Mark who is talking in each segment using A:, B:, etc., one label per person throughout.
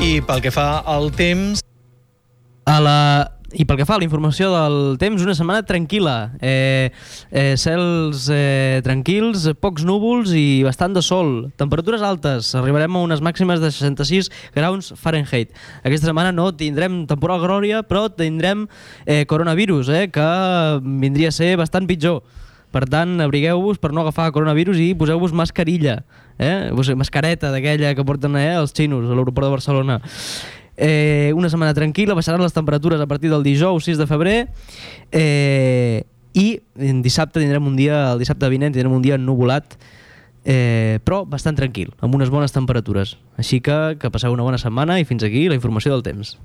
A: I pel que fa al temps...
B: A la... I pel que fa a la informació del temps, una setmana tranquil·la. Eh, eh, cels eh, tranquils, pocs núvols i bastant de sol. Temperatures altes, arribarem a unes màximes de 66 graus Fahrenheit. Aquesta setmana no tindrem temporal glòria, però tindrem eh, coronavirus, eh, que vindria a ser bastant pitjor. Per tant, abrigueu-vos per no agafar coronavirus i poseu-vos mascarilla, eh? Vos- mascareta d'aquella que porten eh, els xinos a l'aeroport de Barcelona. Eh, una setmana tranquil·la, baixaran les temperatures a partir del dijous 6 de febrer eh, i en dissabte tindrem un dia, el dissabte vinent tindrem un dia ennuvolat eh, però bastant tranquil, amb unes bones temperatures. Així que que passeu una bona setmana i fins aquí la informació del temps.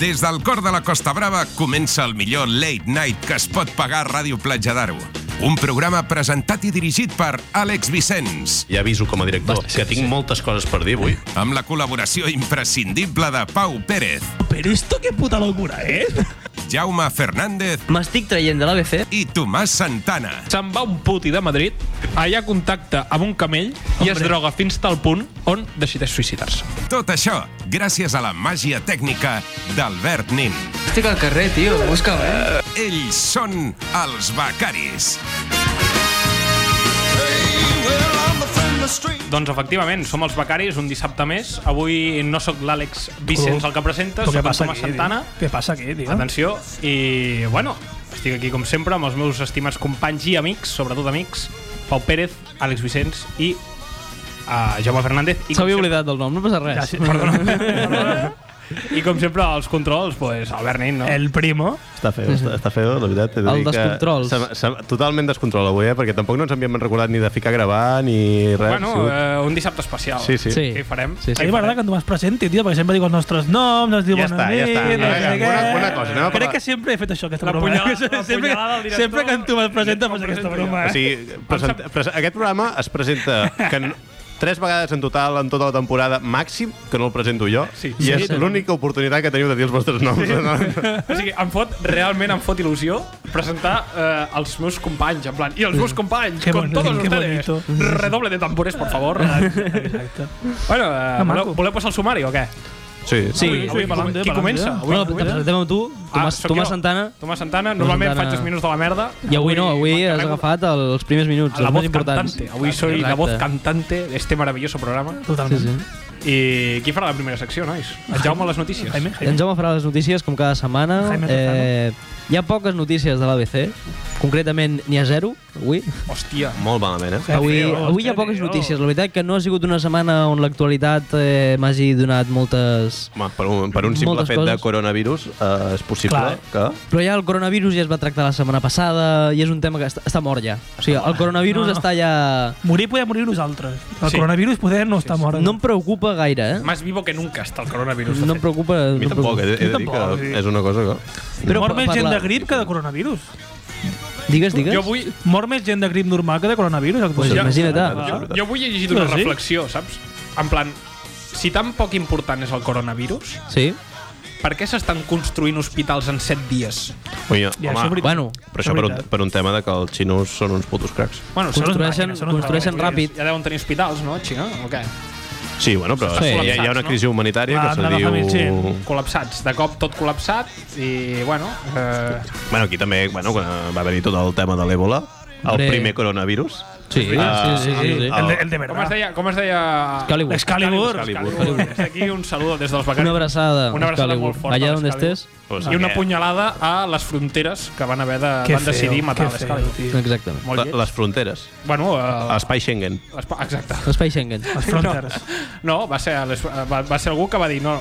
C: Des del cor de la Costa Brava comença el millor late night que es pot pagar a Ràdio Platja d'Aro. Un programa presentat i dirigit per Àlex Vicenç,
D: Ja aviso com a director
B: Basta,
D: que tinc moltes coses per dir avui.
C: amb la col·laboració imprescindible de Pau Pérez,
E: Pero esto qué puta locura eh? es.
C: Jaume Fernández
B: M'estic traient de l'ABC
C: i Tomàs Santana.
E: Se'n va un puti de Madrid, allà contacta amb un camell i es droga fins tal punt on decideix suïcidar-se.
C: Tot això gràcies a la màgia tècnica d'Albert Nin.
F: Estic al carrer, tio, busca'm, eh?
C: Ells són els becaris.
E: Doncs efectivament, som els becaris, un dissabte més. Avui no sóc l'Àlex Vicenç el que presenta,
G: Oh. Però
E: sóc
G: què
E: el
G: passa
E: Tomàs
G: aquí,
E: Santana.
G: tio? Què passa aquí, tio?
E: Atenció, i bueno, estic aquí com sempre amb els meus estimats companys i amics, sobretot amics, Pau Pérez, Àlex Vicenç i uh, Jaume Fernández. I com
B: S'havia
E: sempre-
B: oblidat del nom, no passa res.
G: Gràcies, perdona.
E: I com sempre, els controls, pues, Albert Nin, no?
G: El primo.
D: Està feo, està, està feo, la veritat. he de
B: El
D: dir que
B: descontrol.
D: se- se- Totalment descontrol avui, eh? perquè tampoc no ens havíem recordat ni de ficar a gravar ni res.
E: Bueno, eh, un dissabte especial.
D: Sí, sí.
B: Sí.
E: Què hi farem?
B: Sí,
G: A mi m'agrada que tu m'has presenti, tio, perquè sempre dic els nostres noms, ens diu
D: Ja
G: bona
D: està, ja
G: nit,
D: està.
G: no
D: Vinga,
G: sé què.
D: bona- bona cosa, anem a
G: Crec
D: parlar.
G: que sempre he fet això, aquesta
E: La
G: broma.
E: punyalada- la
G: sempre,
E: punyalada del director.
G: sempre que tu me'l presenta
E: Jo
G: fas aquesta
E: presento
G: broma.
D: O
G: Eh?
D: sigui, present, present, aquest programa es presenta que en, tres vegades en total en tota la temporada màxim que no el presento jo
E: Sí.
D: i
E: Sí,
D: és
B: sí.
D: l'única oportunitat que teniu de dir els vostres noms. Sí.
E: O sigui, em fot, realment em fot il·lusió presentar eh, els meus companys, en plan, i els meus companys,
G: Que
E: con
G: bonic,
E: todos
G: que
E: ustedes.
G: bonito.
E: Redoble de tambores, por favor.
B: Ah,
G: Exacte.
E: bueno, eh, voleu,
G: maco.
E: voleu posar el sumari o què?
D: sí.
B: Sí.
E: Avui, avui,
G: Comença,
E: qui
G: balanç,
E: comença?
G: eh?
E: Avui, Ah,
B: no,
E: qui
B: te
E: comença?
B: presentem amb tu, Tomàs,
E: sóc
B: Tomàs
E: jo.
B: Santana.
E: Tomàs Santana, normalment
B: Santana.
E: faig els minuts de la merda.
B: I avui no, avui has
E: m'encarrego
B: agafat els primers minuts,
E: a la
B: els
E: voz
B: més importants.
E: cantante. Avui soy la voz cantante de este maravilloso programa.
G: Totalment. Sí,
E: I qui farà la primera secció, nois? El Jaume a les notícies.
G: Jaime,
B: En Jaume Doncs farà les notícies com cada setmana.
G: Jaime
B: Eh, hi ha poques notícies de l'ABC, concretament n'hi ha zero, avui.
E: Hòstia.
D: Molt malament, eh?
B: Avui,
G: feo,
B: avui hi ha
G: que
B: poques
G: feo.
B: notícies. La veritat que no ha sigut una setmana on l'actualitat eh, m'hagi donat moltes...
D: Home, per un, per un simple
B: Moltes
D: fet de
B: coses.
D: coronavirus eh, és possible
G: Clar.
D: que...
B: Però ja el coronavirus ja es va tractar la setmana passada i és un tema que està, està mort ja. O sigui, el coronavirus
G: No,
B: no,
G: no.
B: no. està ja...
G: Morir podem morir nosaltres. El
E: Sí.
G: coronavirus poder no està mort.
B: No em preocupa gaire, eh?
E: Más vivo que nunca està el coronavirus. de
B: No em
E: fet.
B: preocupa...
D: A
B: no
D: mi
B: em
D: tampoc,
B: preocupa.
D: he, de- he de dir
G: Tampoc,
D: que
G: sí.
D: és una cosa que...
B: Però
G: Mor
B: per-
G: més
B: per
G: gent
B: la-
G: de grip que de coronavirus.
B: Digues, digues.
E: Jo avui,
G: Mor més gent de grip normal que de coronavirus.
B: Pues
G: actualment.
B: imagina't.
D: Jo-
E: jo avui he llegit una
G: Ah. Sí.
E: reflexió, saps? En plan, si tan poc important és el coronavirus,
B: Sí.
E: per què s'estan construint hospitals en 7 dies?
D: Ui, ja,
G: Ja, això és
D: home,
G: veritat.
B: Bueno,
D: però això per un, per un tema de que els xinos són uns putos cracs.
E: Bueno, són uns
B: construeixen,
G: màquines, són uns
B: construeixen
G: treballadors.
B: ràpid.
E: Ja deuen tenir hospitals, no, Xina? O què?
D: Sí, bueno, però
B: Sí.
D: sí. hi, ha, hi ha una crisi humanitària
G: Clar,
D: que se
G: hem d'agafar
D: diu...
G: més gent.
E: Col·lapsats. De cop tot col·lapsat i, bueno... Eh,
D: Bueno, aquí també bueno, quan va haver-hi tot el tema de l'èbola, el
B: Hombre.
D: primer coronavirus.
B: Sí, sí,
D: Ah,
B: sí, sí, sí.
G: El de, el de
E: com es
G: verdad.
E: deia... Com es deia...
G: ah,
B: Excalibur.
G: Excalibur.
E: Excalibur. Des d'aquí un saludo des dels becaris.
B: Una abraçada,
E: Una abraçada
B: Excalibur.
E: molt forta.
B: Allà
E: a
B: on
E: l'Excalibur.
B: estés.
D: Pues,
E: I una
D: eh,
E: punyalada a les fronteres que van haver de...
G: Que
E: van decidir
G: feo,
E: matar
G: que feo,
E: l'Escalibur.
G: tio.
B: Exactament.
E: Molt
D: la-
E: lleig.
D: Les fronteres.
E: Bueno,
B: Oh.
E: eh,
D: L'espai Schengen.
E: Espa- Exacte.
B: L'espai Schengen.
G: Els fronters.
E: No, va ser, a les- va, va ser algú que va dir no,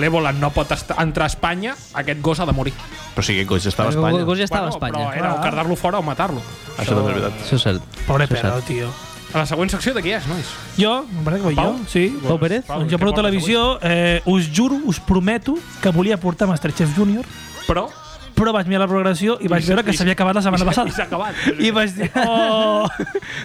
E: l'Ebola no pot estar, entrar a Espanya, aquest gos ha de morir.
D: Però sí que coix estava a
B: El
D: Espanya.
B: gos ja estava a
E: Però eh,
B: Espanya.
E: era o
G: Ah.
E: quedar-lo fora o matar-lo.
D: Això també és veritat.
B: Això és cert.
G: Pobre
B: Això és
G: Pedro,
B: cert.
G: tio.
E: A la següent secció de qui és, nois?
G: Jo, em parece que vaig
E: Pau?
G: jo, sí.
B: Pau Pérez?
G: Doncs jo per
E: què portes avui?
G: televisió, eh, us juro, us prometo que volia portar Masterchef Junior,
E: Però...
G: però vaig mirar la programació i vaig
E: I-
G: veure que
E: i-
G: s'havia acabat la setmana
E: i-
G: passada.
E: i s'ha acabat.
G: I vaig dir, oh...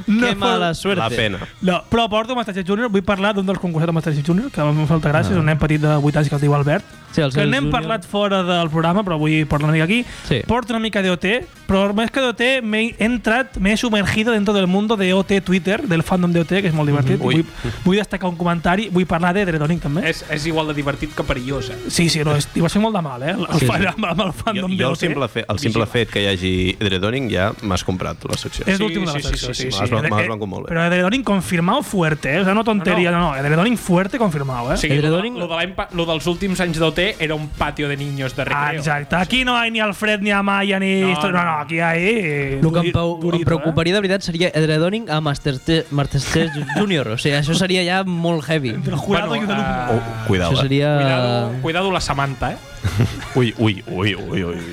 G: no,
B: Que mala
D: La
B: suerte.
D: pena.
G: No, però porto Masterchef Junior, vull parlar d'un dels concursants de Masterchef Junior, que em fa molta gràcia, és un nen petit de 8 anys que es diu Albert,
B: Sí, el
G: que
B: Sales
G: n'hem
B: Junior.
G: parlat fora del programa, però vull parlar una mica aquí.
B: Sí.
G: Porto una mica d'OT, però més que d'OT m'he entrat, m'he sumergido dentro del mundo de OT Twitter, del fandom de OT, que és molt divertit.
D: Ui.
G: vull, vull destacar un comentari, vull parlar de Dredonic també.
E: És, és igual de divertit que perillós, eh?
G: Sí, sí, no, és, i va ser molt de mal, eh? El,
B: Sí,
G: sí,
B: sí.
G: Amb, amb el
D: Jo,
G: fandom
D: jo el
G: de OT.
D: simple, fe, el simple fet que hi hagi Dredoning ja m'has comprat la secció.
G: És
E: Sí,
G: l'últim de la
E: sí, sí,
G: secció,
E: sí, sí,
G: sí, sí.
D: m'has blan-
G: Eh,
D: m'has
G: eh,
D: blancat molt bé.
G: Però Edredoning confirmado fuerte, eh? O sea, no tonteria, no, no. Edredoning fuerte confirmado, eh?
E: O sigui, lo, de,
B: Edredoning-
E: lo, de l'any pa- lo dels últims anys d'OT era un patio de niños de
G: Ah,
E: recreo.
G: exacte. Aquí no hay ni Alfred, ni Amaya, ni...
E: No,
G: No, no, no,
E: no.
G: aquí hi ha... Eh,
B: El que em,
G: duri-
B: pau, em
G: durito,
B: preocuparia
E: eh?
B: de veritat seria Edredoning a Masters Masters Junior. O sigui, això seria ja molt heavy.
G: Eh? Del jurado
E: Bueno,
G: bueno, i un alumne.
E: eh,
D: Oh, cuidao,
B: Això
D: eh?
B: seria...
E: Cuidado, cuidado la Samantha, eh?
D: Ui, ui, ui, ui, ui. ui.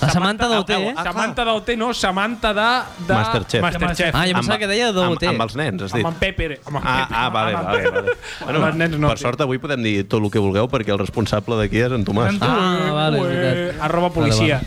B: La Samantha d'OT,
E: ah,
B: eh?
E: ah, Samantha d'OT, no, Samantha de... de
D: Masterchef.
E: Masterchef.
B: Ah, jo pensava
D: Amb-
B: que deia d'OT.
D: Amb, amb els nens, has
E: Amb
D: dit.
E: en Pepper. Amb en
D: Ah,
E: Pepper.
D: ah, vale, vale, vale.
E: Amb els nens no,
D: per
E: tio.
D: sort avui podem dir tot el que vulgueu perquè el responsable d'aquí és en Tomàs. Ah,
G: Ah.
B: Ah, vale, és
E: Ué,
B: veritat.
E: Arroba policia.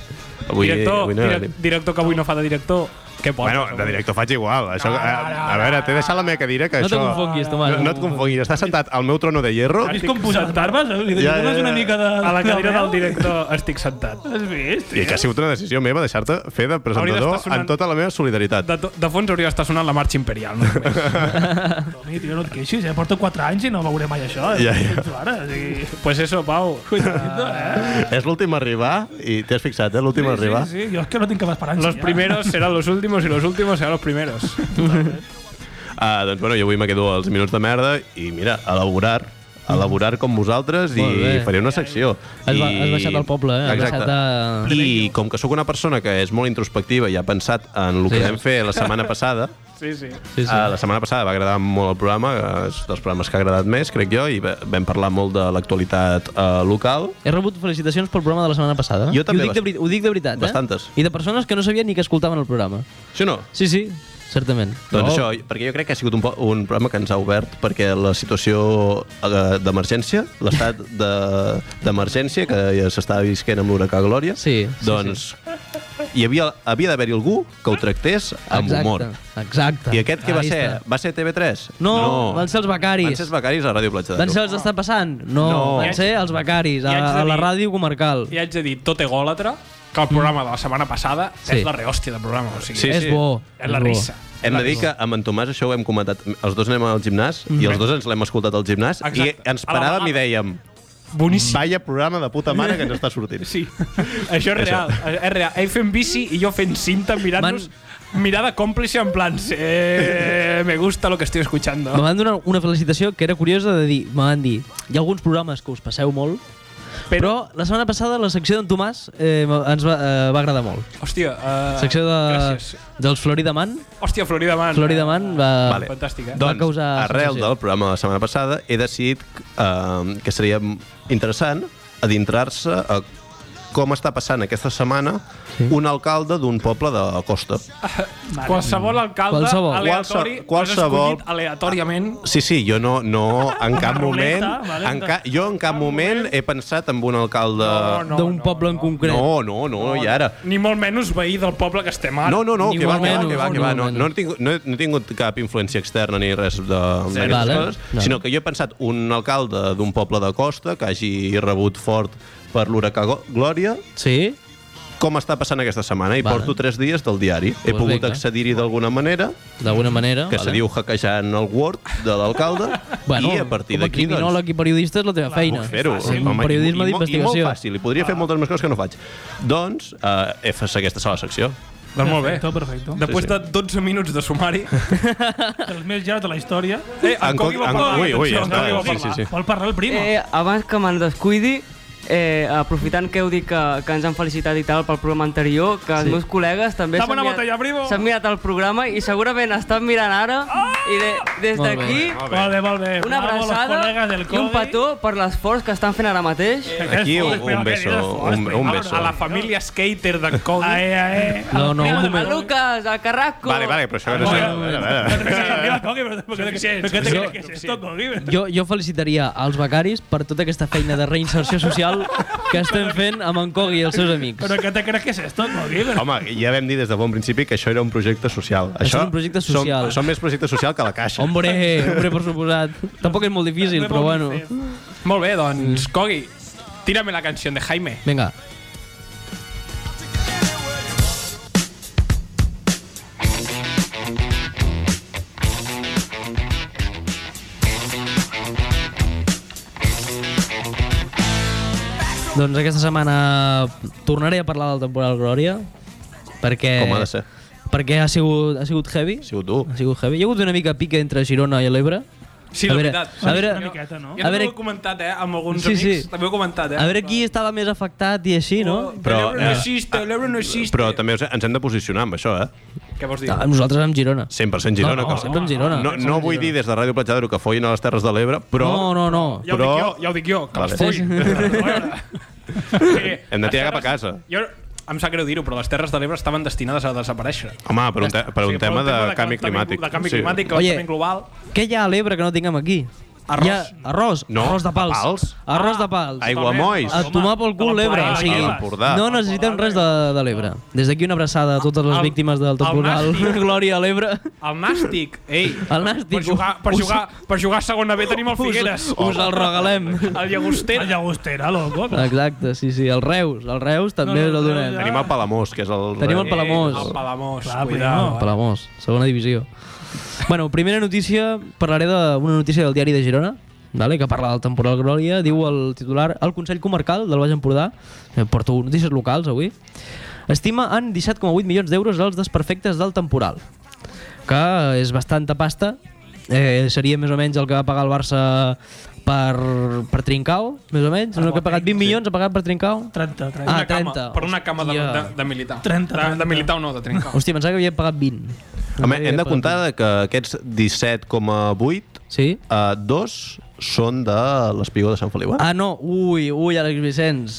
D: Avui-
E: director,
D: avui no era
E: direc-
D: ni-
E: director que avui no fa de director. Què pots?
D: Bueno, de director faig igual. Això, a, a veure, t'he deixat la meva cadira que
B: No te
D: això...
B: confonguis, Tomàs.
D: No, no et confonguis, estàs sentat al meu trono de hierro.
G: És com posar les barbes, eh? Li
D: Ja,
G: ja,
D: ja, ja.
G: una mica de...
E: A la cadira
G: de
E: del director estic sentat.
G: Has vist?
D: I que ha sigut una decisió meva deixar-te fer de
E: Hauria
D: presentador
E: d'estar sonant-
D: en tota la meva solidaritat.
E: De, to- de fons hauria d'estar sonant la marxa imperial. No només.
G: Toni, tio, no et queixis, eh? Porto 4 anys i no veuré mai això. Eh?
D: Ja, ja.
G: Tu Ara, o sigui...
E: pues eso, Pau.
G: Cuidadito, eh?
D: És l'últim a arribar, i t'has fixat, eh? L'últim a arribar.
G: Sí, sí, jo és que no tinc cap esperança.
E: Los
G: ja.
E: primeros serán los últimos y los últimos serán los primeros.
D: Ah, doncs bueno, jo avui me quedo als minuts de merda i mira, a laborar a laborar com vosaltres i
B: Molt bé.
D: faré una secció.
B: Has ba-
D: I-
B: has baixat al poble, eh? Has
D: Exacte.
B: baixat a-
D: I com que sóc una persona que és molt introspectiva i ha pensat en el que
B: Sí.
D: vam fer la setmana passada,
E: Sí, sí.
B: Sí, sí.
D: Ah, la setmana passada va agradar molt el programa, és dels programes que ha agradat més, crec jo, i va- vam parlar molt de l'actualitat eh, local.
B: He rebut felicitacions pel programa de la setmana passada.
D: Jo també
B: I ho dic, de,
D: bast-
B: veri- ho dic de veritat, eh?
D: bastantes.
B: I de persones que no sabien ni que escoltaven el programa.
D: Sí o no?
B: Sí, sí, certament.
D: Doncs això, perquè jo crec que ha sigut un, po- un programa que ens ha obert perquè la situació eh, d'emergència, l'estat de- d'emergència que ja s'estava visquent amb l'huracà Glòria,
B: Sí, sí,
D: doncs hi havia, havia d'haver-hi algú que ho tractés amb
B: Exacte,
D: humor.
B: Exacte.
D: I aquest què va
B: Ahí
D: ser?
B: està.
D: Va ser TV3?
B: No, van ser els becaris.
D: Van ser els becaris a Ràdio Platja
B: Van
D: d'Aro.
B: ser els d'estar passant? No, no,
D: No.
B: van ser els becaris,
E: I haig de
B: a, a la
E: dir-
B: ràdio comarcal.
E: I haig de dir, tot egòlatra, que el programa de la setmana passada
B: Sí.
E: és la rehòstia del programa. O sigui,
D: Sí,
B: és
D: sí.
B: bo.
E: és la
B: bo.
E: risa.
D: Hem de dir que amb en Tomàs això ho hem comentat. Els dos anem al gimnàs i
B: Mhm.
D: els dos ens l'hem escoltat al gimnàs
E: Exacte.
D: i ens
E: A la
D: paràvem
E: vegada.
D: i dèiem
E: Boníssim.
D: Vaya programa de puta mare que ens està sortint.
E: Sí, això és real. És real. Ell fent bici i jo fent cinta mirant-nos mirada còmplice en plan eh, me gusta lo que estoy escuchando.
B: Me van donar una felicitació que era curiosa de dir, me van dir, hi ha alguns programes que us passeu molt, però, però la setmana passada la secció d'en Tomàs eh, ens va, eh, va agradar molt.
E: Hòstia, uh,
B: secció de,
E: Gràcies.
B: dels Florida Man.
E: Hòstia, Florida Man. eh?
B: Florida Man va...
D: Vale.
E: Fantàstica.
B: Va
D: Doncs,
B: causar
D: arrel
B: sensació.
D: del programa de la setmana passada he decidit eh, que seria interessant adentrar-se a com està passant aquesta setmana sí. un alcalde d'un poble de la costa.
E: Doncs Qualsevol alcalde
B: Qualsevol.
E: aleatori
D: Qualse-
E: qualsevol...
D: qualsevol-
E: escollit aleatòriament.
D: Sí, sí, jo no, no en cap moment...
G: Valenta, valenta.
D: En ca, jo en doncs. cap moment he pensat en un alcalde...
E: No,
B: d'un poble en concret.
D: no, no, no, i ara...
E: Ni molt menys veí del poble que estem ara.
D: No, no, no,
B: Ah, Ni
D: que va,
B: molt
D: que va,
B: menys,
D: que va,
B: ni
D: que va.
B: molt menys.
D: No, no, he tingut, no, he, no he tingut cap influència externa ni res de- d'aquestes
B: Vale.
D: coses,
B: No.
D: sinó que jo he pensat un alcalde d'un poble de costa que hagi rebut fort per l'huracà Go- Glòria,
B: Sí?
D: com està passant aquesta setmana, i
B: Vale.
D: porto tres dies del diari. He
B: Pues
D: pogut
B: vinga.
D: accedir-hi d'alguna manera,
B: D'alguna manera.
D: que se diu hackejant el Word de l'alcalde, i a partir
B: com
D: d'aquí, doncs,
B: criminòleg i periodista és la teva feina.
D: Puc fer-ho.
B: Sí,
D: home,
B: un periodisme
D: i mo- i molt
B: d'investigació.
D: fàcil, i podria fer moltes més coses que no faig. Doncs, eh, he fet aquesta sola secció.
E: Doncs molt bé.
G: Perfecto, perfecto.
E: Després
D: Sí,
E: de 12 minuts de sumari...
G: Dels més llargs de la història.
E: Eh, en
D: En
E: Cogui
D: Cogui-
E: va
D: en-
E: parlar.
D: ui, ui,
E: atenció, en
D: està,
E: Cogui va
D: sí,
E: parlar.
D: sí, sí.
G: Vol parlar el primo?
H: Eh, abans que me'n descuidi, eh, aprofitant que heu dit que, que ens han felicitat i tal pel programa anterior, que sí. els meus col·legues també
E: Dame
H: s'han
E: una botella, primo.
H: mirat, s'han mirat el programa i segurament estan mirant ara i de, des
B: Molt bé.
H: d'aquí
G: Molt bé, molt bé.
H: una
G: Ah! Bravo, los
H: abraçada
G: colegas del
H: i un
G: Cogui.
H: petó per l'esforç que estan fent ara mateix.
D: Aquí un,
G: Però
D: un
G: què dius,
D: beso,
G: Forrest?
D: un, un beso.
E: A la família skater de Cogui.
G: Ae, ae.
B: No, no, un
H: El
B: moment.
H: Lucas, el Carrasco...
D: Vale, vale, però això era...
E: Molt bé.
D: això- a veure, a veure.
G: Arriba, Cogui, però però què
E: Suficient,
G: però què te
E: suficient.
G: creus que és esto, Cogui?
B: Jo, jo felicitaria els becaris per tota aquesta feina de reinserció social que estem fent amb en Cogui i els seus amics.
G: Però què te creus que és esto, Cogui? Però-
D: Home, ja vam dir des de bon principi que això era un projecte social.
B: Això és un projecte social.
D: Som, som més projecte social que la caixa.
B: Hombre, hombre, per suposat. Tampoc és molt difícil, però bueno.
E: Molt bé, doncs, Cogui, Tírame la canción de Jaime.
B: Vinga. Doncs aquesta setmana tornaré a parlar del temporal Glòria, perquè...
D: Com ha de ser.
B: Perquè ha sigut, ha sigut heavy.
D: sigut dur.
B: Ha sigut heavy. Hi ha hagut una mica pica entre Girona i l'Ebre.
E: Sí,
B: a
E: la
B: veure,
E: veritat.
B: A veure,
G: Una miqueta, no?
E: Ja
B: a veure,
E: ho he comentat, eh, amb alguns
B: Sí,
E: amics.
B: sí.
E: També ho he comentat, eh.
B: a veure qui estava més afectat i així, no?
E: Però,
D: Però,
E: l'Ebre no
D: eh,
E: existe, l'Ebre no existe.
D: Però també us- ens hem de posicionar amb això, eh?
E: Què vols dir?
B: no nosaltres amb Girona.
D: 100% Girona.
B: no,
D: que-
B: sempre amb Girona.
D: No, no vull dir des de Ràdio Platja d'Aro que follin a les Terres de l'Ebre, però...
B: No, no, no.
E: Ja ho
D: però-
E: dic jo, ja ho dic jo, que
D: Vale.
E: les full.
B: Sí,
E: Sí. eh,
D: Hem de tirar cap a casa.
E: Jo, em sap greu dir-ho, però les Terres de l'Ebre estaven destinades a desaparèixer.
D: Home, per un, te per
E: O
D: un
E: sigui,
D: tema de canvi
E: calentament-
D: climàtic.
E: De canvi
D: Sí.
B: Oye.
E: climàtic, calentament global.
B: Què hi ha a l'Ebre que no tinguem aquí?
E: Arròs.
B: Hi ha arròs,
D: No,
B: arròs de pals.
D: pals.
B: Arròs de pals.
D: Aigua Aiguamolls.
B: A tomar pel cul l'Ebre. O sigui,
D: a l'Empordà.
B: no necessitem res de, de l'Ebre. Des d'aquí una abraçada a totes les
E: El-
B: víctimes del
E: el
B: temporal.
E: Nàstic.
B: Glòria a l'Ebre.
E: El nàstic, ei,
B: El Nàstic,
E: per jugar, per,
B: us-
E: jugar, per jugar a segona B tenim el Figueres.
B: Us, us el regalem.
E: El Llagostera.
G: Vaya agustera, loco.
B: Exacte, sí, sí. El Reus. El Reus també
G: No, no,
B: el
G: no,
B: donem.
G: ja.
D: Tenim el Palamós, que és el...
B: Tenim el Palamós.
E: Eh, El Palamós,
G: Clar,
E: cuidao.
G: cuidao.
B: Palamós, segona divisió. Bueno, primera notícia, parlaré d'una notícia del diari de Girona, vale, que parla del temporal Glòria, diu el titular al Consell Comarcal del Baix Empordà, eh, porto notícies locals avui, estima en 17,8 milions d'euros els desperfectes del temporal, que és bastanta pasta, eh, seria més o menys el que va pagar el Barça per, per Trincao, més o menys, el que ha pagat 20 milions ha pagat per Trincao.
G: 30, 30.
B: Ah,
E: Una cama,
B: 30.
E: Per una cama de,
B: Hòstia.
E: de, de militar.
G: 30,
E: De, de
G: 30.
E: militar o no, de trincar.
B: Hòstia, pensava que havien pagat 20.
D: Home, hem de comptar que aquests 17,8
B: Sí?
D: Uh, dos són de l'Espigó de Sant Feliu. eh?
B: Ah, no, ui, ui, Àlex Vicenç.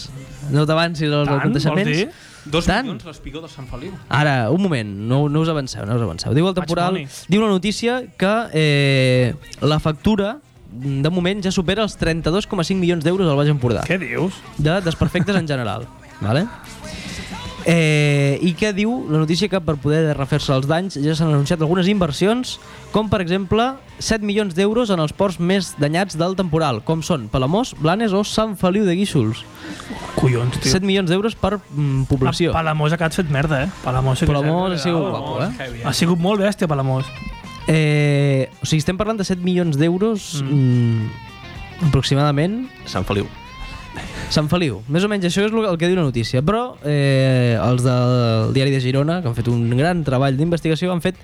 B: No t'avancis als
G: Tant,
B: aconteixements.
G: vols dir?
E: Dos
B: Tant.
E: milions l'espigó de Sant Feliu.
B: Ara, un moment, no, no us avanceu, no us avanceu. Diu el temporal,
G: money.
B: diu la notícia que eh, la factura mm, de moment ja supera els 32,5 milions d'euros al Baix Empordà
G: Què dius?
B: de desperfectes en general. Vale? Eh, I què diu la notícia que per poder refer-se els danys ja s'han anunciat algunes inversions, com per exemple 7 milions d'euros en els ports més danyats del temporal, com són Palamós, Blanes o Sant Feliu de Guíxols.
G: Collons, tio.
B: 7 milions d'euros per mm, població.
G: A Palamós que has fet merda, eh? Palamós, sí que
B: Palamós
G: s'ha-
B: ha sigut
G: Oh,
B: guapo, eh?
E: Heavy,
G: Ha sigut molt bèstia, Palamós.
B: eh o sigui, estem parlant de 7 milions d'euros mm. aproximadament.
D: Sant Feliu.
B: Sant Feliu. Més o menys això és lo- el que diu la notícia. Però eh, els del diari de Girona, que han fet un gran treball d'investigació, han fet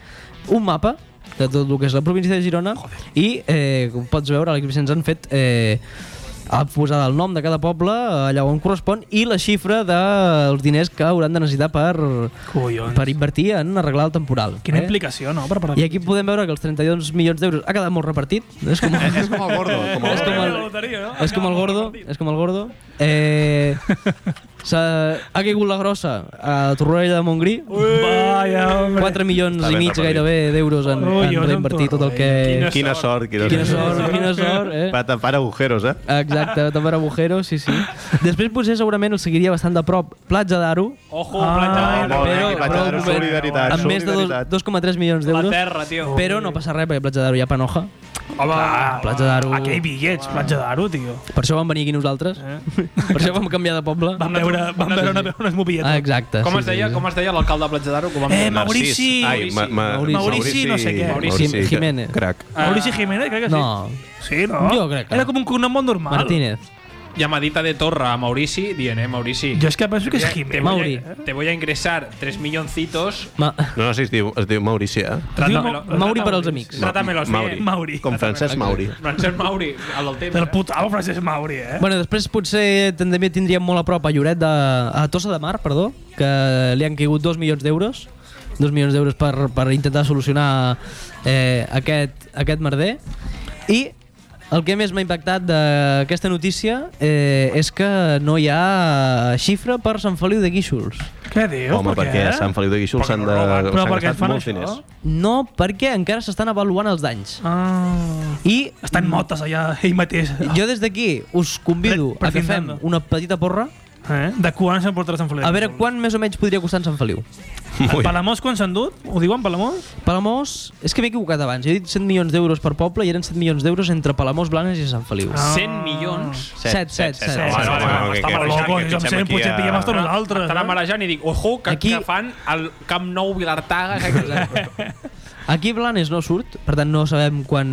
B: un mapa de tot el que és la província de Girona i, eh, com pots veure, l'Àlex Vicenç han fet... Eh, ha posat el nom de cada poble eh, allà on correspon i la xifra dels diners que hauran de necessitar per,
G: Collons.
B: per invertir en arreglar el temporal.
G: Quina
B: eh?
G: implicació, no? Per part
B: I aquí podem veure que els 32 milions d'euros ha quedat molt repartit. És com, és
D: Com el Gordo. Com
G: Eh,
D: el
B: és com
D: Gordo.
B: el, és com el gordo. És com el gordo. Eh, s'ha- ha caigut la grossa a Torroella de Montgrí.
G: Vaya, hombre.
B: 4 milions
D: Està
B: i
D: ben
B: mig
D: repartit.
B: gairebé d'euros en,
G: Ui,
B: en
G: jo no em
B: reinvertir tot el que...
E: Quina
D: Quina sort. Quina,
B: Quina sort, quina sort, eh?
D: Per tapar agujeros, eh?
B: Exacte, tapar agujeros, sí, sí. Després potser segurament el seguiria bastant de prop Platja d'Aro,
E: Ojo,
G: Ah,
E: planta
D: molt bé,
B: però,
D: Platja
B: però
D: d'Aro,
B: un moment,
D: solidaritat,
B: amb més de dos-
D: solidaritat.
B: 2,3 milions
E: la
B: d'euros.
E: terra, tio.
B: Però no passa res, perquè Platja d'Aro hi ha panoja.
G: Home,
B: Platja d'Aro.
G: Aquí hi ha bitllets, Platja d'Aro, tio.
B: Per això vam venir aquí nosaltres. Eh? Per això vam canviar de poble.
G: Vam veure, vam veure una, unes mobilles.
B: Ah, exacte.
E: Com
B: sí,
E: es deia,
B: sí,
E: com es deia l'alcalde de Platja d'Aro? que ho vam-
G: Eh,
E: Narcís.
G: Maurici!
D: Ai, ma, ma,
B: Maurici.
G: Maurici, no sé què.
D: Maurici,
B: Maurici
D: que-
B: Jiménez.
D: Crac.
G: Maurici Jiménez, crec que sí.
B: Ah. No.
G: Sí, no?
B: Jo crec que
G: Era
B: no.
G: com un cognom molt normal.
B: Martínez.
E: Llamadita de torre a Maurici, dient, eh, Maurici.
G: Jo és que penso que és
E: te
G: Jiménez.
B: Mauri.
E: voy, a, te voy a ingresar 3 milloncitos.
B: Ma
D: No, no sé si es diu, es diu Maurici, eh?
E: Trátamelo-
G: Ma-
B: Mauri per als amics.
D: Ma-
E: Trátamelos
D: Mauri.
E: bien.
G: eh, Mauri.
D: Com Francesc Mauri.
E: Francesc Mauri, el del temps.
G: Del
E: eh?
G: putavo Francesc Mauri, eh?
B: Bueno, després potser també tindríem molt a prop a Lloret de... a Tossa de Mar, perdó, que li han caigut 2 milions d'euros. 2 milions d'euros per, per intentar solucionar eh, aquest, aquest merder. I el que més m'ha impactat d'aquesta notícia eh, és que no hi ha xifra per Sant Feliu de Guíxols.
G: Què dius?
D: Home,
G: per
D: perquè
G: què?
D: a Sant Feliu de Guíxols s'han de...
G: Però
D: s'han
G: per què
D: gastat
G: et fan
D: molts
G: això?
D: diners.
B: No perquè encara s'estan avaluant els danys.
G: Ah.
B: I
G: Estan motes allà, ell mateix.
B: Jo des d'aquí us convido
G: Pre-
B: a que fem
G: prescindando.
B: una petita porra
G: eh? de quan se'n portarà Sant Feliu.
B: A veure, quan més o menys podria costar en Sant Feliu?
G: Ui. Palamós quan s'han dut? Ho diuen, Palamós?
B: Palamós... És que m'he equivocat abans. Jo he dit 100 milions d'euros per poble i eren 100 milions d'euros entre Palamós, Blanes i Sant Feliu.
G: Ah.
E: 100 milions.
B: Set, set, set.
E: no,
G: Home,
E: home, no, està
G: Loco,
E: marejant,
G: jo em sé, potser pillem hasta nosaltres. eh?
E: Estarà
G: no?
E: marejant i dic, ojo, que,
B: Aquí-
E: Aquí... que fan el Camp Nou Vilartaga. Que...
B: Aquí Blanes no surt, per tant no sabem quan,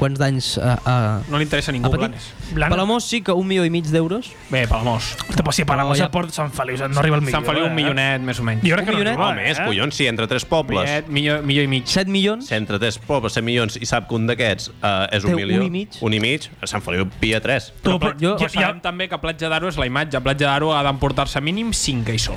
B: quants danys ha, ha,
E: no li interessa a
B: ha
E: ningú,
B: patit.
E: Blanes.
G: Blanes-
B: Palamós sí que un milió i mig d'euros.
E: Bé, Palamós.
G: Hòstia, però si Palamós
B: ja-
G: ja porta Sant Feliu, no arriba al milió.
E: Sant Feliu un
G: eh?
E: millonet, més o menys.
G: Jo crec que no
B: millonet?
G: arriba,
D: Home, més,
G: eh?
D: collons, si entre tres pobles,
E: Millet, millor, millor i mig.
B: 7 milions.
D: si entre tres pobles, 100 milions, i sap que un d'aquests eh, és
B: Té
D: un
B: un
D: milió,
B: i mig.
D: un i mig, a Sant Feliu pia tres.
G: Tu, però,
B: jo-
G: jo,
E: Però
G: ja,
E: sabem també que Platja d'Aro és la imatge. Platja d'Aro ha d'emportar-se mínim 5 i sol.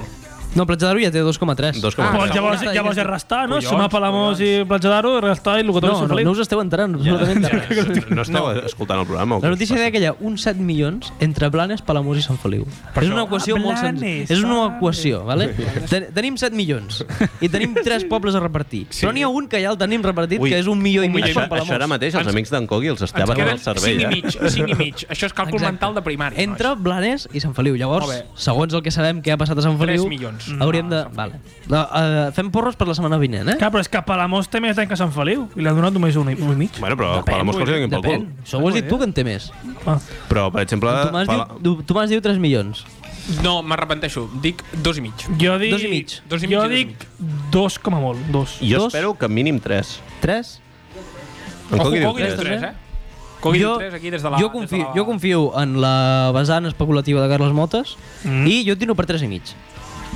B: No, Platja d'Aro ja té 2,3.
D: Dos com
G: Ah,
D: a
G: ja, però
D: tres.
G: llavors,
B: Collons,
G: llavors és restar, no?
E: collons,
G: Sumar Palamós i Platja d'Aro, restar i el que
B: No,
G: tot
B: no, no us esteu enterant absolutament de res.
D: No esteu escoltant el programa? o
B: La
D: què?
B: notícia deia que hi ha uns 7 milions entre Blanes, Palamós i Sant Feliu. és una equació
G: Ah,
B: molt
G: Blanes,
B: senzilla. És una
G: Blanes.
B: equació, vale? Ten tenim 7 milions i tenim 3 pobles a repartir. Però n'hi ha un que ja el tenim repartit,
D: Ui,
B: que és un milió i mig
D: Això,
B: per
D: això ara
B: Palamós.
D: mateix els amics d'en Cogui els
E: Ens
D: estaven
E: queden
D: al cervell.
E: 5 i
D: eh?
E: mig, 5 i mig. Això és càlcul
B: Exacte.
E: mental de primària.
B: Entre Blanes i Sant Feliu. Llavors,
E: Molt bé.
B: segons el que sabem que ha passat a Sant
E: Tres
B: Feliu, Mm.
E: milions.
B: hauríem
E: No,
B: de...
E: Sant
B: Vale. No, eh, fem porros per la setmana vinent, eh?
G: Clar, però és que Palamós té més d'any que Sant Feliu i li han donat només un i, un i mig.
D: Bueno, però Palamós que els donin pel cul.
B: Depèn. Això ho has dit tu, que en té més.
G: Ah.
D: Però, per exemple...
B: Tomàs
D: Pala-
B: diu, Tomàs diu 3 milions.
E: No, m'arrepenteixo. Dic dos i mig.
G: Jo dic...
B: Dos i mig.
E: Dos i mig
G: jo
E: i dos i
G: dic dos com a molt, dos.
D: Jo
B: Dos.
D: espero que mínim 3.
B: 3?
D: En
E: Ojo,
D: Cogui diu
E: Cogui diu
D: 3.
B: tres.
E: tres, eh? Cogui diu tres aquí des de la...
B: jo,
E: des de
B: confio,
E: la-
B: jo confio en la vessant especulativa de Carles Motes mm. i jo et tiro per 3 i mig.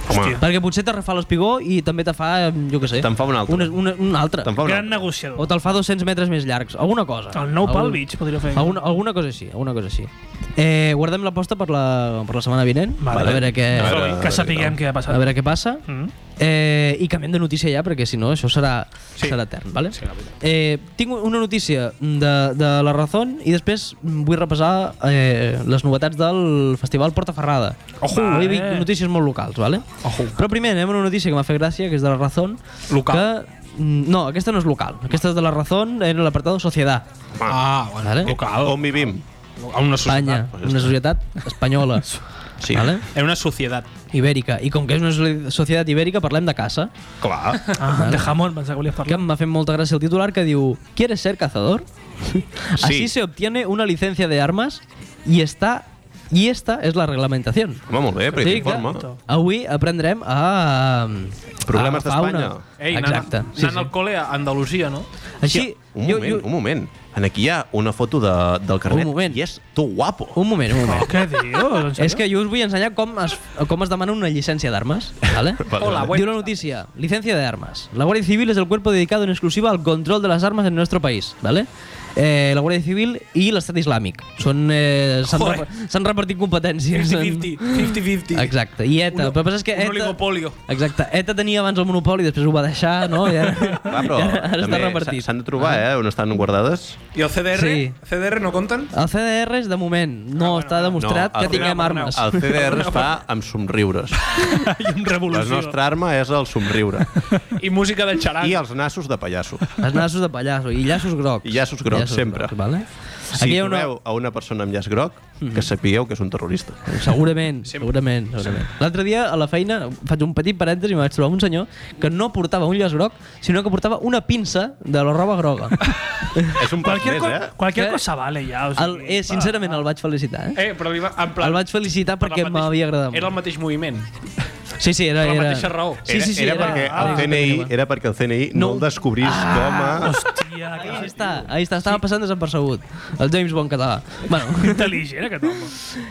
D: Home,
B: Perquè potser te refà l'espigó i també te fa, jo què sé...
D: Te'n fa un altre.
B: Una, una, un altre.
D: te'n fa una...
G: Gran negociador.
B: O te'l fa 200 metres més llargs. Alguna cosa.
G: El nou pal
B: Algun-
G: Beach podria fer.
B: Alguna, alguna cosa així, alguna cosa així. Eh, guardem l'aposta per, la, per la setmana vinent, Eh,
G: Vale.
B: a veure què,
D: A veure,
G: que sapiguem què ha passat.
B: a veure què passa.
G: Mm.
B: Eh, I canviem de notícia ja, perquè si no això serà, sí. serà etern, vale? Sí, eh, tinc una notícia de, de La Razón i després vull repassar eh, les novetats del Festival Porta Ferrada.
E: Ojo,
B: Avui vinc
G: eh.
B: notícies molt locals, vale?
E: Ojo.
B: Però primer anem a una notícia que m'ha fet gràcia, que és de La Razón.
E: Local.
B: Que, mm, no, aquesta no és local. Aquesta és de La Razón en l'apartado Sociedad.
E: Ah, bueno,
B: Vale?
E: local.
D: On vivim?
E: A
B: Eh?
E: una
B: Oh. Espanya,
E: societat.
B: una societat espanyola,
D: Sí.
B: vale?
E: En una societat.
B: ibèrica. I com que és una so- societat ibèrica, parlem de caça.
D: Clar.
G: Ah, de jamón, pensava que volies
B: Que
G: parlar.
B: m'ha fet molta gràcia el titular que diu ¿Quieres ser cazador? Así se obtiene una licencia de armas y está y esta es la reglamentación.
D: Home, molt bé, perquè
B: Sí, clar.
D: t'informa.
B: Avui aprendrem a...
D: Problemes
B: a fauna.
D: d'Espanya.
E: Ei,
B: Exacte.
E: anant, anant al col·le a Andalusia, no?
B: Així,
D: Un moment, un moment. En aquí hi ha una foto de, del carnet
B: Un moment.
D: i és tu guapo.
B: un moment, un moment.
G: Oh, què dius?
B: És que jo us vull ensenyar com es, com es demana una llicència d'armes, ¿vale?
E: Hola,
B: Dio
E: bueno.
B: la noticia, licencia de armas. La Guardia Civil es el cuerpo dedicado en exclusiva al control de las armas en nuestro país, ¿vale? Eh, la Guàrdia Civil i l'Estat Islàmic. Són, eh, s'han
E: Joder.
B: rep- s'han repartit competències. en-
E: 50-50. 50-50.
B: Exacte. I ETA.
E: Un-
B: però passa és que
E: un oligopolio.
B: Exacte. ETA tenia abans el monopoli, després ho va deixar, no? I ara,
D: Va, però
B: i ara, ara està
D: també
B: repartit.
D: s'ha- s'han de trobar, eh, on estan guardades.
E: I el CDR?
B: Sí.
E: CDR no compten?
B: El CDR és de moment.
E: Ah,
B: No, està demostrat
D: el
B: que tinguem
D: CDR
B: armes.
D: El CDR es fa amb somriures.
G: I un
D: La
G: revolució.
D: nostra arma és el somriure.
E: I música de xaran.
D: I els nassos de pallasso.
B: Els nassos de pallasso i llaços grocs.
D: I llaços grocs, sempre.
B: Grocs, vale?
D: Si trobeu a una persona amb llaç groc, que sapigueu que és un terrorista.
B: Segurament, segurament, segurament. L'altre dia a la feina faig un petit parèntesi i em vaig trobar un senyor que no portava un llaç groc, sinó que portava una pinça de la roba groga.
D: És un pas
G: Qualquier,
D: més,
G: co
D: eh?
G: qualquier
B: Eh?
G: cosa vale, ja. O
B: El,
G: sigui,
B: eh, sincerament, el vaig felicitar, eh?
E: Eh, però li va, en plan,
B: El vaig felicitar
E: per la
B: perquè
E: mateixa-
B: m'havia agradat
E: Era el
B: molt.
E: mateix moviment.
B: Sí, sí, era...
E: per la
B: era-
E: mateixa raó.
B: Sí, sí, sí.
D: era, perquè el CNI, era perquè el CNI no,
B: No. Ah,
D: el descobrís com a...
G: Hòstia, que
B: Ahí està, ahí està, estava passant desapercebut. El James Bond català. Bueno,
G: intel·ligent aquest home.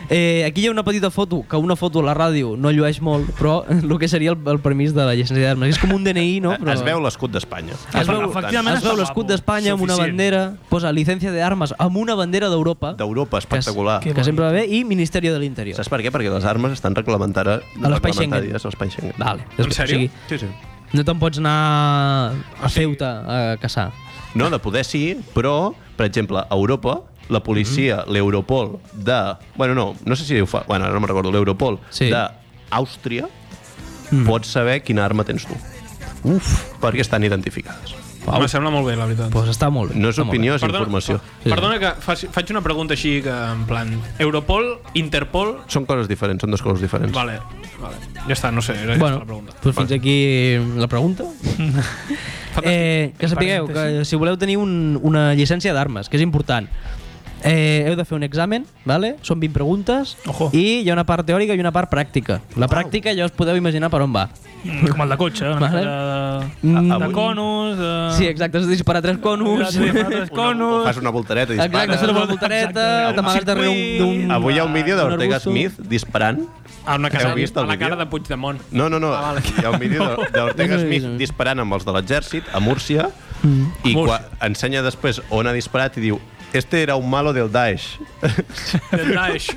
B: Eh, aquí hi ha una petita foto, que una foto a la ràdio no llueix molt, però el que seria el, el permís de la llicència d'armes. És com un DNI, no? Però
D: Es veu l'escut d'Espanya.
B: Es veu,
G: Efectivament,
B: es veu
G: està
B: l'escut
G: guapo.
B: d'Espanya amb una
G: Suficient.
B: bandera, posa llicència d'armes amb una bandera d'Europa,
D: D'Europa,
B: que, és-
D: espectacular.
B: que sempre va bé, i Ministeri de l'Interior.
D: Saps per què? Perquè les armes estan reglamentades
B: A l'espai
D: reglamentàries a l'espai Schengen.
B: Vale.
E: En sèrio?
B: O sigui,
D: Sí, sí.
B: no te'n pots anar a Ceuta a caçar.
D: No, de poder sí, però, per exemple, a Europa, la policia,
B: Mhm.
D: l'Europol de... Bueno, no, no sé si ho fa... Bueno, ara no me'n recordo. L'Europol
B: Sí. Mhm.
D: d'Àustria pot saber quina arma tens tu. Uf. Perquè estan identificades.
B: Pau.
E: Me sembla molt bé, la veritat.
B: Pues està molt bé.
D: No és
B: està molt
D: opinió,
B: bé.
D: és informació.
E: per- Perdona que faci, faig una pregunta així que, en plan, Europol, Interpol...
D: Són coses diferents, són dues coses diferents.
E: Vale, vale. Ja està, no sé, era aquesta
B: Doncs. Bueno,
E: la Eh, pregunta.
B: doncs fins aquí la pregunta. Eh, que sapigueu que si voleu tenir un, una llicència d'armes, que és important, eh, heu de fer un examen, vale? són 20 preguntes,
G: Ojo.
B: i hi ha una part teòrica i una part pràctica. La pràctica ja us podeu imaginar per on va.
G: Mm, Com el de cotxe, una
B: Vale.
G: vale. de,
B: Mm.
G: de conus, de...
B: Sí, exacte, has de disparar tres conos.
G: de tres
D: O
G: conus...
D: Fas una voltereta i
B: Exacte,
D: dispares.
B: fas una
G: Exacte,
B: voltereta,
G: un
B: t'amagues darrere
G: circuit.
B: un- d'un...
D: Avui hi ha un vídeo
B: Un
D: d'Ortega
B: arbusto.
D: Smith disparant.
E: A una casa,
D: Heu vist el
E: a la
D: vídeo?
E: cara de Puigdemont.
D: No, no, no. Hi ha un vídeo d'Or- d'Ortega
B: No, no, no.
D: Smith disparant amb els de l'exèrcit a Múrcia i quan ensenya després on ha disparat i diu este era un malo del Daesh.
E: Del Daesh.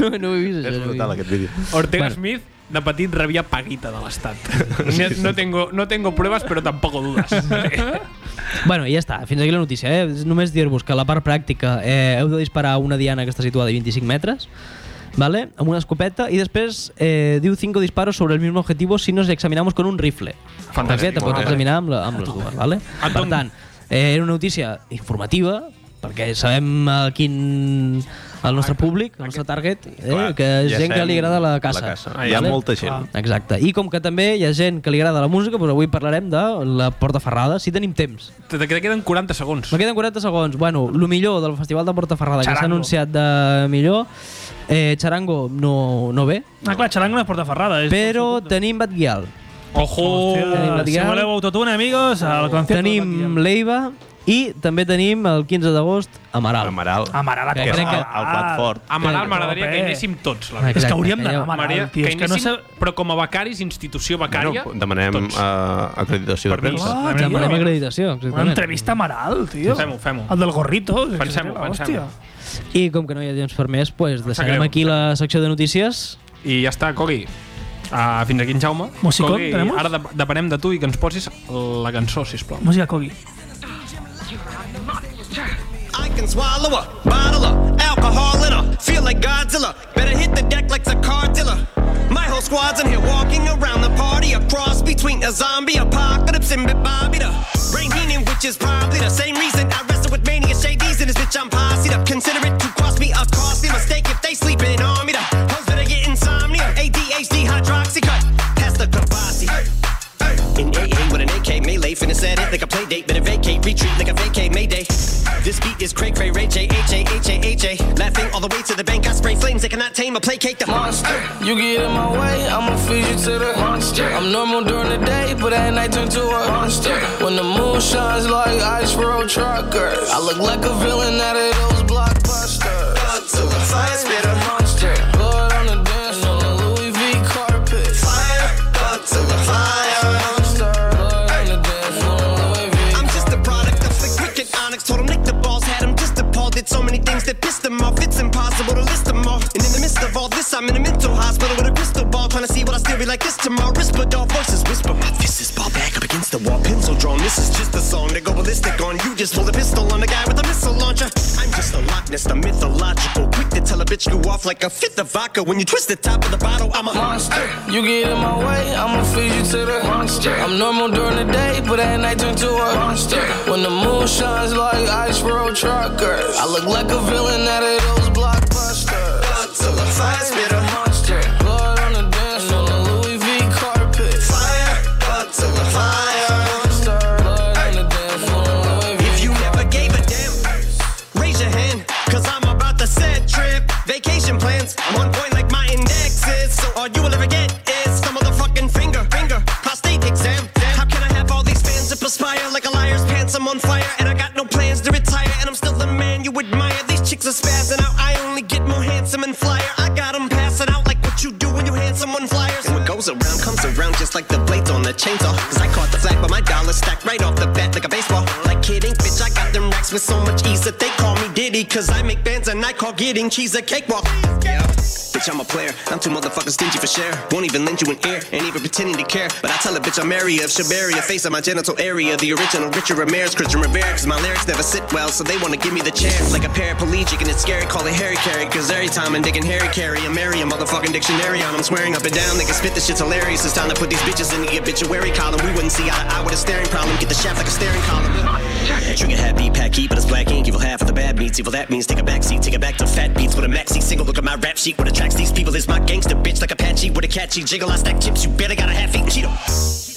B: No, no ho he vist, això.
D: És
B: no ho he
D: brutal
B: vist.
D: aquest vídeo.
E: Ortega bueno. Smith, de petit, rebia paguita de l'Estat. No, no, tengo, no tengo pruebas, però tampoc dudas.
B: Bueno, i ja està, fins aquí la notícia. Eh? Només dir-vos que la part pràctica eh, heu de disparar a una diana que està situada a 25 metres, ¿vale? amb una escopeta, i després eh, diu 5 disparos sobre el mismo objetivo si nos examinamos con un rifle. Fantàstic. També te pots examinar amb, la, amb les dues, ¿vale? Per tant, eh, era una notícia informativa, perquè sabem a quin el nostre públic, el nostre target, eh,
D: Clar,
B: que és
D: ja
B: gent que
D: sabem
B: li agrada la
D: la
B: caça.
D: caça. Hi ha molta gent.
B: Exacte. I com que també hi ha gent que li agrada la música, doncs avui parlarem de la Porta Ferrada, si tenim temps.
E: Te, te queden 40 segons.
B: Me queden 40 segons. Bueno, el millor del Festival de Porta Ferrada que s'ha
E: Charango.
B: anunciat de millor, eh, Charango no, no ve,
G: Ah, clar, xarango no és portaferrada. És
B: però tenim Bad Gyal,
E: Ojo!
B: Tenim la
G: Hòstia, si
B: Dial.
G: voleu autotune, amigos, al concert...
B: tenim l'Eiva i també tenim el 15 d'agost Amaral.
D: Amaral.
G: Amaral a
B: Que
G: tocar.
B: crec que-
D: El plat fort.
E: Amaral
B: Que-
E: m'agradaria que
G: Bé.
E: anéssim tots, la
B: Exacte,
G: És que hauríem
B: que
G: d'anar
B: ja-
G: a Amaral,
E: Maria,
G: tio.
E: que,
G: És que no sé...
E: anéssim, però com a becaris, institució
D: Bueno,
E: becària,
D: demanem
E: tots.
D: uh, acreditació de premsa.
G: Ah,
B: Ja farem
G: tio.
B: acreditació,
G: Una
B: exactament.
G: entrevista a Amaral, tio.
E: Fem-ho, fem-ho.
G: El del gorrito.
E: Pensem-ho, pensem-ho.
B: I com que no hi ha temps per més, doncs deixarem
E: greu,
B: aquí la secció de notícies.
E: I ja està, Cogui. Uh, fins aquí en Jaume.
G: Musicón,
E: Cogui,
G: tenemos?
E: ara de depenem de tu i que ens posis la cançó, sisplau.
G: Música Kogi.
I: I can swallow a bottle of alcohol in her. Feel like Godzilla. Better hit the deck like a car dealer. My whole squad's in here walking around the party. A cross between a zombie apocalypse and Bit Bobby the brain healing, which is probably the same reason I wrestle with mania shadies in this bitch. I'm posse up. Consider it to cost me a costly mistake if they sleeping on me. The hoes better get insomnia. ADHD hydroxy cut. Pass the kabasi. In AA with an AK melee, finna set it like a play date. Better vacate, retreat like a vacate mayday. This beat is cray cray, Ray J, H A H A H A. Laughing all the way to the bank, I spray flames that cannot tame or placate the
F: Monster, you get in my way, I'ma feed you to the monster. I'm normal during the day, but at night turn to a monster. When the moon shines like ice road truckers, I look like a villain out of those blockbusters.
I: to a fire spitter.
F: monster, blood on the dance floor, on the Louis V carpet.
I: fire, thug to the fire.
F: Monster, blood on the dance floor, on Louis V.
I: I'm just a product of slick wicked onyx. Told him lick the balls, had him just appalled. Did so many things that pissed him off. It's impossible to list them all. And in the midst of all this, I'm in a mental hospital with a crystal ball. Trying to see what I still be like this tomorrow. Rispador voices whisper. My fist is ball back up against the wall. Pencil drawn. This is just a song to go ballistic on. You just pulled a pistol on the guy with a missile launcher. I'm just a Loch Ness, the mythological. Quick to tell a bitch you off like a fifth of vodka. When you twist the top of the bottle, I'm a
F: monster. You get in my way, I'ma feed you to the monster. I'm normal during the day, but at night turn to a monster. When the moon shines like ice road truckers, I look like a villain out of those blockbusters.
I: Thug till the fire spitter.
F: Monster, blood on the dance floor, the Louis V carpet.
I: Fire, thug till the fire.
F: Monster, blood on the dance floor, the Louis V.
I: If you never gave a damn, raise your hand. Cause I'm about to set trip. Vacation plans, I'm on point like my indexes. So all you will ever get is some motherfucking finger, finger, prostate exam. Damn, how can I have all these fans that perspire like a liar's pants? I'm on fire and I got no plans to retire. And I'm still the man you admire. These chicks are spazzing out. I only get more handsome and flyer. I got 'em passing out like what you do when you hand someone flyers. And what goes around comes around just like the blades on the chainsaw. Cause I caught the flag, but my dollar stacked right off the bat like a baseball. Like kid ink, bitch, I got them racks with so much ease that they call me Diddy. Cause I make bands and I call getting cheese a cakewalk. Yeah. Bitch, I'm a player. I'm too motherfucking stingy for share. Won't even lend you an ear, ain't even pretending to care. But I tell a bitch I'm area of Shabaria, face of my genital area. The original Richard Ramirez, Christian Rivera. Cause my lyrics never sit well, so they wanna give me the chair. Like a paraplegic, and it's scary, call it Harry Carry. Cause every time I'm digging Harry Carry, I'm Mary, a motherfucking dictionary on. I'm swearing up and down, they can spit this shit's hilarious. It's time to put these bitches in the obituary column. We wouldn't see eye to eye with a staring problem. Get the shaft like a staring column. Trigger happy, pack heat, but it's black ink. Evil half of the bad meats. Evil that means take a backseat. Take it back to fat beats with a maxi single. Look at my rap sheet. What attracts these people is my gangster bitch like Apache with a catchy jiggle. I stack chips. You better got a half eat Cheeto.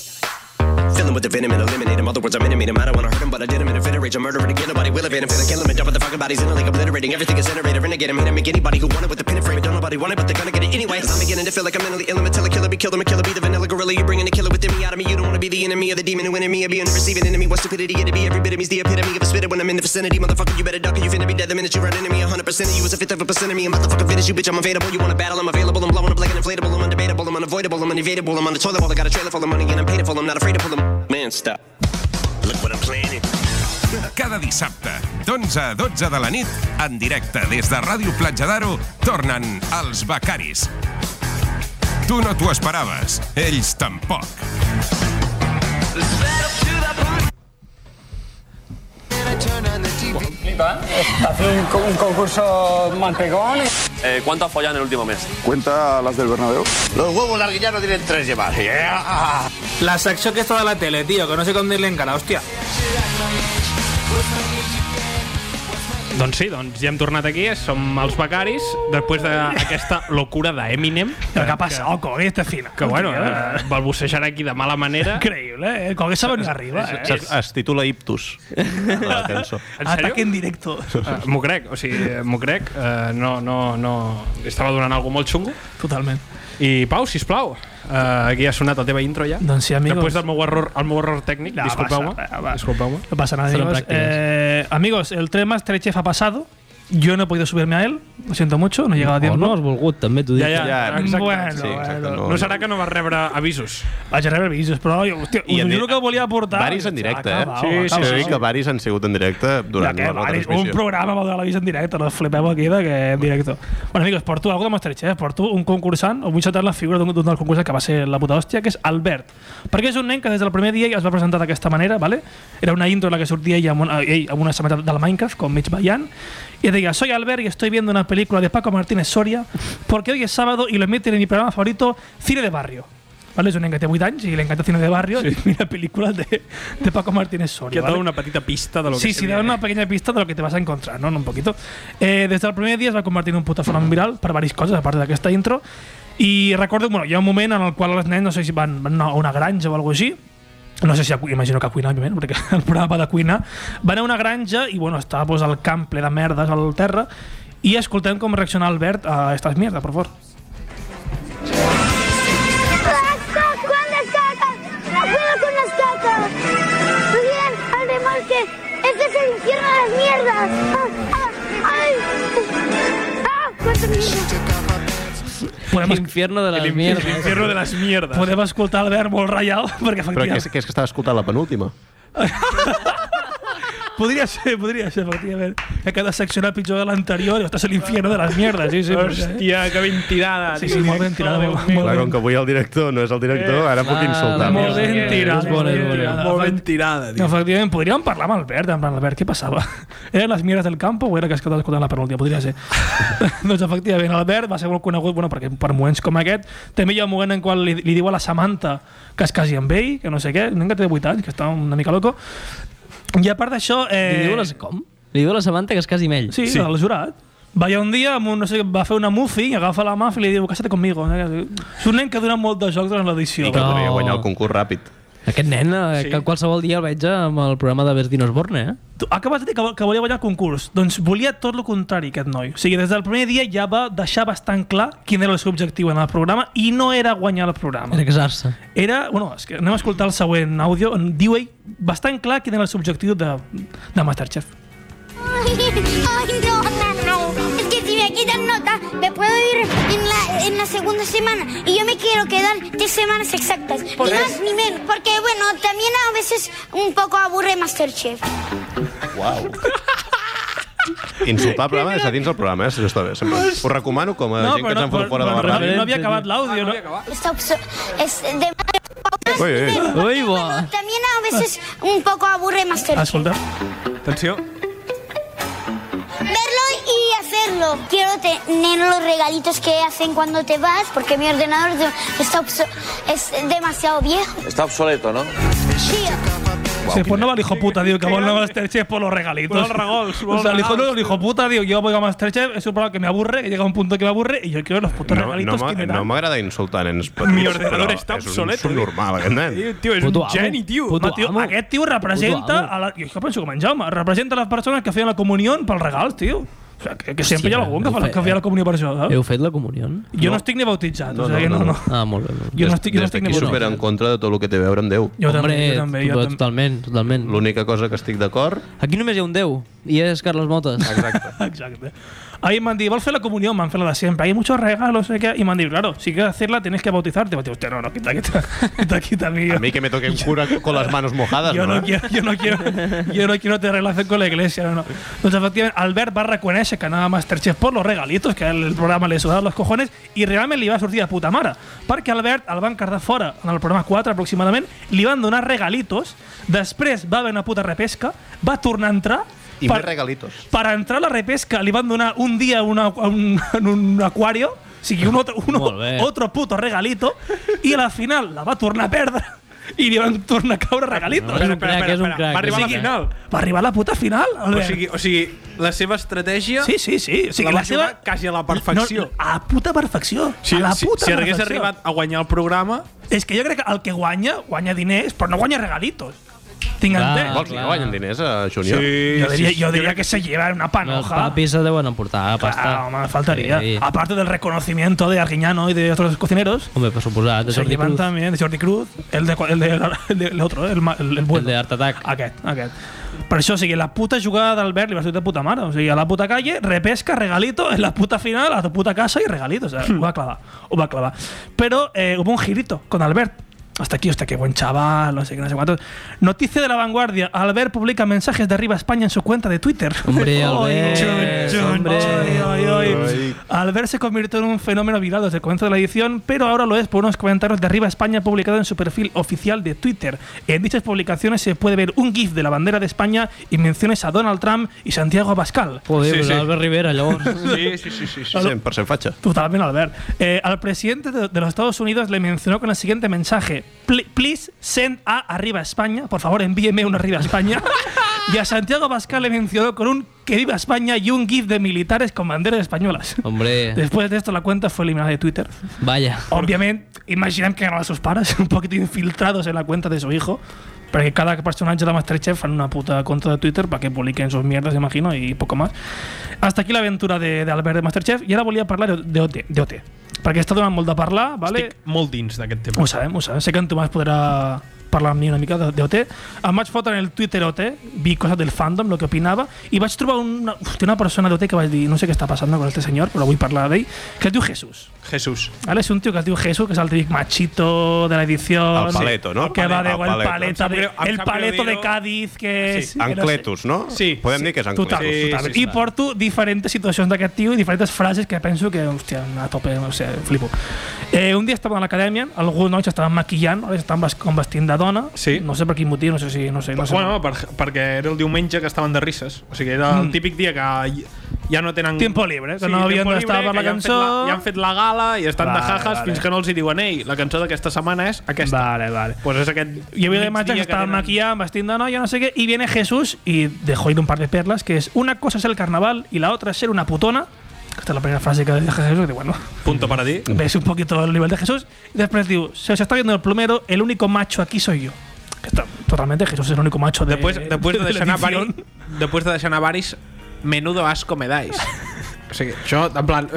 I: Filling with the venom and eliminate him. Other words, I'm intimate him. I don't want to hurt him, but I did him in a fit of rage. I'm murdering again. Nobody will evade him. Finna kill him and dump the fucking bodies in it like obliterating. Everything is innovative. Renegade him. Hit him. Make anybody who want it with a pin and frame it. Don't nobody want it, but they're gonna get it anyway. Cause I'm beginning to feel like I'm mentally ill. I'm a killer. Be killed. I'm a killer. Be the vanilla gorilla. You're bringing the killer within me out of me. You don't want to be the enemy of the demon who enemy of being the receiving enemy. What stupidity it'd be. Every bit of me's the epitome of a spitter when I'm in the vicinity. Motherfucker, you better duck or you finna be dead the minute you run into me. 100% of you is a fifth of a percent of me. I'm about to fucking finish you, bitch. I'm available. You wanna battle? I'm available. I'm blowing up like an inflatable. I'm undebatable. I'm unavoidable. I'm unevadable. I'm on the toilet bowl. I got a trailer full of money and I'm paid for. I'm not afraid to pull them. Man, stop. Look what I'm planning.
C: Cada dissabte, d'11 a 12 de la nit, en directe des de Ràdio Platja d'Aro, tornen els becaris. Tu no t'ho esperaves, ells tampoc.
J: un, concurso mantecón.
K: ¿Cuánto has follado en el último mes?
L: Cuenta las del Bernabéu.
K: Los huevos de no tienen tres llevar.
M: La secció que està de la tele, tio, que no sé com dir-li encara, hòstia.
E: Doncs sí, doncs ja hem tornat aquí, som els becaris, després d'aquesta locura d'Eminem.
G: Lo que ha pasado con este final.
E: Que bueno, eh, balbucejar aquí de mala manera.
G: Increíble, eh? Con esa venía arriba, eh?
D: Es, es titula Iptus, la cançó.
G: Ataque en directo.
E: Eh, M'ho crec, o sigui, eh, m'ho crec. Eh, no, no, no... Estava donant alguna molt xungo.
G: Totalment.
E: I Pau, si plau, eh, aquí ha sonat el teva intro ja.
G: Doncs sí, amigos.
E: Després del meu error, el meu error tècnic,
G: No,
E: disculpeu-me.
G: pasa nada, va.
E: Disculpeu-me.
G: No pasa nada,
E: Solo
G: amigos.
E: prácticas.
G: Eh, amigos, el tren Masterchef ha pasado. Yo no he podido subirme a él. Lo siento mucho, no he llegado a
B: O
G: tiempo.
B: no has volgut, també t'ho dic.
E: Ja, ja, exacte.
G: Ah, Bueno,
E: Sí,
G: exacte,
E: No,
G: bueno.
E: no serà que no vas rebre avisos.
G: Vaig a rebre vídeos, però jo, hòstia,
D: I
G: us
D: en di-
G: juro que volia portar.
D: Varis en directe, eh?
G: Acabau, acabau.
D: Sí, que varis han sigut en directe
G: Ja
D: durant
G: que
D: la
G: varis,
D: retransmissió.
G: un programa va donar la vista en directe, no flipeu aquí de que en directo. Bueno, amigos, porto algo de Masterchef, porto un concursant, o vull xatar la figura d'un d'un dels concursants que va ser la puta hòstia, que és Albert. Perquè és un nen que des del primer dia es va presentar d'aquesta manera, vale? era una intro en la que sortia ell amb, un, eh, ell amb una samarreta del Minecraft, com mig ballant, y diga, soy Albert y estoy viendo una película de Paco Martínez Soria, porque hoy es sábado y lo meten en mi programa favorito, Cine de Barrio. ¿Vale? Es un encante muy danch y le encanta Cine de Barrio y mira películas de, de Paco Martínez Soria.
E: Que
G: ¿vale?
E: et dona una petita pista de lo que
G: Sí, sí,
E: seria.
G: da una pequeña pista de lo que te vas a encontrar, ¿no? Un poquito. Eh, desde el primer dia es va convertir en un puto fenomen viral per diverses coses, a part d'aquesta intro. I recordo, bueno, hi ha un moment en el qual els nens, no sé si van, van a una granja o alguna cosa així, no sé si a, cu- imagino que a cuinar, òbviament, perquè el programa va de cuinar, van a una granja i, bueno, estava pues, el camp ple de merdes al terra i escoltem com reacciona Albert a estas mierdas, por favor.
N: Juan las cacas! ¡No puedo con las cacas! ¡Bien! ¡Al remolque! ¡Este es el infierno de las mierdas! ¡Ah! ah, ¡Ay! ¡Ah! ¡Cuánto mierda!
G: Podem es-
B: Infierno de las
G: infierno-
B: mierdas.
G: infierno de las mierdas. Podem escoltar Albert molt ratllat, perquè
D: Però que
G: efectivament...
D: és, que és que estava escoltant la penúltima.
G: Podría ser, podría ser, efectivament. Que cada secció era pitjor de l'anterior. Estàs a l'infierno de les mierdes, sí, sí.
E: Hòstia, que ben tirada.
G: Sí, sí, molt ben tirada. Molt, molt
D: Clar,
G: ben
D: com que avui el director no és el director, ara puc insultar.
G: Eh, Molt ben tirada.
D: És bona, és bona.
E: Molt ben tirada,
G: tio. Efectivament, podríem parlar amb Albert, en plan, Albert, què passava? Eren les mires del campo o era que es quedava escoltant la penúltima? Podria ser. doncs, efectivament, Albert va ser molt conegut bueno, perquè per moments com aquest. També hi ha un moment en qual li, li diu a la Samantha que es casi amb ell, que no sé què, un nen que té 8 anys, que està una mica loco. I a part d'això... Eh...
B: Li diu a les- com? Li diu a la Samantha que es casi amb ell.
G: Sí, sí. el jurat. Va hi ha un dia, amb un, no sé, va fer una mufi, i agafa la mà i li diu, casa't conmigo. És un nen que dura molt de jocs durant l'edició.
D: I que podria guanyar el concurs ràpid.
B: Aquest nen, eh, que qualsevol dia el veig amb el programa de Bertinos Borne, eh?
G: Tu acabes de dir que, vol- que volia guanyar el concurs. Doncs volia tot el contrari, aquest noi. O sigui, des del primer dia ja va deixar bastant clar quin era el seu objectiu en el programa i no era guanyar el programa.
B: Era casar-se.
G: Era, bueno, és que anem a escoltar el següent àudio on diu ell bastant clar quin era el seu objectiu de, de Masterchef.
N: ¡Ay, no, no, no! Es que si me quitan nota, me puedo ir en la, en la segunda semana. Y yo me quiero quedar 10 semanas exactas. Ni
O: qué?
N: más ni menos. Porque, bueno, también a veces un poco aburre Masterchef.
D: Uau. Insultar el programa és a dins del programa, eh, si us està bé. Sempre. Ho recomano com a
G: No,
D: gent que
G: però
D: ens
G: no,
D: han fotut
G: però-
D: fora de la
G: però
D: ràdio.
G: Ah, no havia acabat l'àudio, no?
N: Esta opción es de...
D: Ui, ui.
B: Ui, bo.
N: También a veces un poco aburre Masterchef.
G: Escolta.
M: Atenció.
N: Verlo y hacerlo. Quiero tener los regalitos que hacen cuando te vas, porque mi ordenador de- está obso- es demasiado viejo.
K: Está obsoleto, ¿no?
N: Sí,
G: Después no va el hijo puta, tío, que vol a Masterchef por los regalitos.
K: Vol regols, vol
G: o sea, el hijo,
K: regals.
G: no, el hijo puta, tío, yo voy a Masterchef, es un programa que me aburre, que llega a un punto que me aburre y yo quiero los putos
D: No, no,
G: regalitos
D: m'ha-
G: que me dan.
D: no m'agrada insultar nens petits,
G: Mi ordenador
D: però
G: està
D: és un
G: obsolet, eh? tio.
D: subnormal, aquest nen.
G: Tio, és
D: Puto
G: un
D: amo.
G: geni, tio.
D: Puto
G: Home, tio
D: amo.
G: aquest tio representa...
D: Puto amo.
G: A la... Jo és que penso com en Jaume. Representa les persones que feien la comunió per regals, tio. O sigui, que, que sempre hi ha algú que, fa, que feia la comunió per això. saps?
B: Heu fet la comunió?
G: Ah. Jo no estic ni bautitzat, o sigui, no, no.
B: Ah, molt bé. Molt bé.
G: Jo no estic- jo no estic
D: Aquí super en contra de tot el que té a veure amb Déu.
G: Jo també, jo també, jo
B: tot-
G: també.
B: Totalment, totalment.
D: L'única cosa que estic d'acord...
B: Aquí només hi ha un déu, i és Carles Motes.
G: Ah,
D: Exacte.
G: Exacte. Ahí me han dicho, ¿vas a hacer la comunión? Me han la de siempre. Hay muchos regalos, no sé qué. Y me han dicho, claro, si quieres hacerla tienes que bautizarte. Y yo, hostia, no, no, quita, quita, quita, quita, amigo.
D: A mi que me toquen cura con las manos mojadas,
G: Yo
D: no? eh?
G: no, quiero, yo no quiero, yo no quiero tener relación con la iglesia, no, no. Entonces, efectivamente, Albert va a reconocer que nada más Masterchef por los regalitos que el programa le sudaba los cojones y realmente le iba a sortir de puta mare. Perquè Albert el van cardar fora en el programa 4 aproximadament, li van donar regalitos, després va haver una puta repesca, va tornar a entrar
D: I
G: per-
D: més regalitos.
G: Per entrar a la repesca li van donar un dia una, un, en un acuario, o sigui, un otro, un,
B: Molt bé.
G: otro puto regalito, i a la final la va tornar a perdre i li van tornar a
M: Ah,
G: caure regalitos.
M: Espera, espera, espera, espera. Va arribar a la final. Pues
G: Va arribar a la puta final.
M: O
G: Albert.
M: sigui, o sigui, la seva estratègia...
G: Sí, sí, sí. O sigui,
M: la,
G: la
M: va jugar
G: seva-
M: quasi a la perfecció.
G: No, a la puta perfecció.
M: Si-
G: a la
M: si-
G: puta
M: si hagués
G: perfecció.
M: arribat a guanyar el programa...
G: És que jo crec que el que guanya, guanya diners, però no guanya regalitos. Tinc entès.
D: Vols que guanyen diners a Junior?
G: jo diria, jo diria que se lleva una panoja.
B: Els papis se deuen emportar pasta.
G: Ah, home, Ah. faltaría.
B: Sí.
G: Aparte del reconocimiento de Arguiñano y de otros cocineros,
B: Home, per suposat, de
G: se
B: Jordi
G: llevan
B: Cruz.
G: también de Jordi Cruz, el de, el de, el de- el otro, eh, el, ma- el, el bueno. Ah. El de
B: Art Attack.
G: Aquest, aquest. Per això, o sigui, la puta jugada d'Albert li va sortir de puta mare. O sigui, a la puta calle, repesca, regalito, en la puta final, a tu puta casa i regalito. O sigui, ho va clavar, ho va clavar. Però eh, hubo un girito con Albert. Hasta aquí, hostia, qué buen chaval, no sé qué, no sé cuánto. Noticia de la vanguardia. Albert publica mensajes de arriba a España en su cuenta de Twitter.
B: Hombre, Albert,
G: hombre. Albert se convirtió en un fenómeno viral desde el comienzo de la edición, pero ahora lo es por unos comentarios de Arriba España publicado en su perfil oficial de Twitter. En dichas publicaciones se puede ver un GIF de la bandera de España y menciones a Donald Trump y Santiago Abascal.
B: Joder, sí, sí. l'Albert Rivera, llavors.
M: Sí, sí, sí. sí,
D: sí. Per ser fatxa.
G: Totalmente, Albert. Eh, al presidente de, de los Estados Unidos le mencionó con el siguiente mensaje: "Pl- Please send a Arriba España. Por favor, envíeme un Arriba España. y a Santiago Pascal le mencionó con un Que viva España y un GIF de militares con banderas españolas.
B: Hombre,
G: Después de esto, la cuenta fue eliminada de Twitter.
B: vaya.
G: Obviamente, imaginan que eran sus pares, un poquito infiltrados en la cuenta de su hijo. Porque cada personaje de la Masterchef en una puta cuenta de Twitter para que publiquen sus mierdas, imagino, y poco más. Hasta aquí la aventura de, de Albert de Masterchef. Y ahora voy a hablar de OT. De OT. Perquè està donant molt de parlar, vale?
M: Estic molt dins d'aquest tema.
G: Ho sabem, ho sabem. Sé que en Tomàs podrà parlar amb mi una mica de, de OT. Em vaig fotre en el Twitter OT, vi coses del fandom, el que opinava, i vaig trobar una, hòstia, una persona d'OT que vaig dir, no sé què està passant amb aquest senyor, però vull parlar d'ell, que es diu Jesús.
M: Jesús.
G: ¿Vale? Es un tío que es diu Jesús, que es el típic machito de la edición.
D: Al paleto, ¿no?
G: Que va de
D: Al
G: igual
D: paleto.
G: paleta de-
D: Em sap
G: el
D: greu
G: paleto de
D: dir-ho.
G: Cádiz, que es. que no sé.
D: Ancletus, no? Sí. Podem dir que és Ancletus.
G: Total, totalment. I porto diferents situacions d'aquest tio i diferents frases que penso que, hòstia, a tope, o sigui, flipo. Eh, un dia estava a l'acadèmia, alguns nois estaven maquillant, ara estaven ves- com vestint de dona, sí. no sé per quin motiu, no sé si... No sé, no
M: Però, Pues
G: sé.
M: bueno, per, perquè era el diumenge que estaven de risses. O sigui, era el
G: Mm.
M: típic dia que hi- ja no tenen...
G: Tiempo libre, que
M: tiempo
G: no havien d'estar
M: libre,
G: per la
M: que ja han fet
G: cançó.
M: Ja han fet la gala i estan
G: Vale,
M: de jajas
G: vale.
M: fins que no els hi diuen ei, la cançó d'aquesta setmana és aquesta.
G: Vale, vale.
M: Pues és aquest
G: Y había una imagen
M: migdia
G: que estaba
M: tenen.
G: maquillada, vestida, no, yo no sé qué. Y viene Jesús y dejó ir un par de perlas, que es una cosa es el carnaval y la otra es ser una putona. Esta es la primera frase que deja Jesús, que bueno,
M: Punto para ti.
G: ves un poquito el nivel de Jesús. Y después digo, se os está viendo el plumero, el único macho aquí soy yo. Que está totalmente, Jesús es el único macho de
M: Després, després de
G: la
M: deixar anar
G: edición.
M: varis, després de deixar anar varis, menudo asco me dais.
E: O sigui, això, en plan...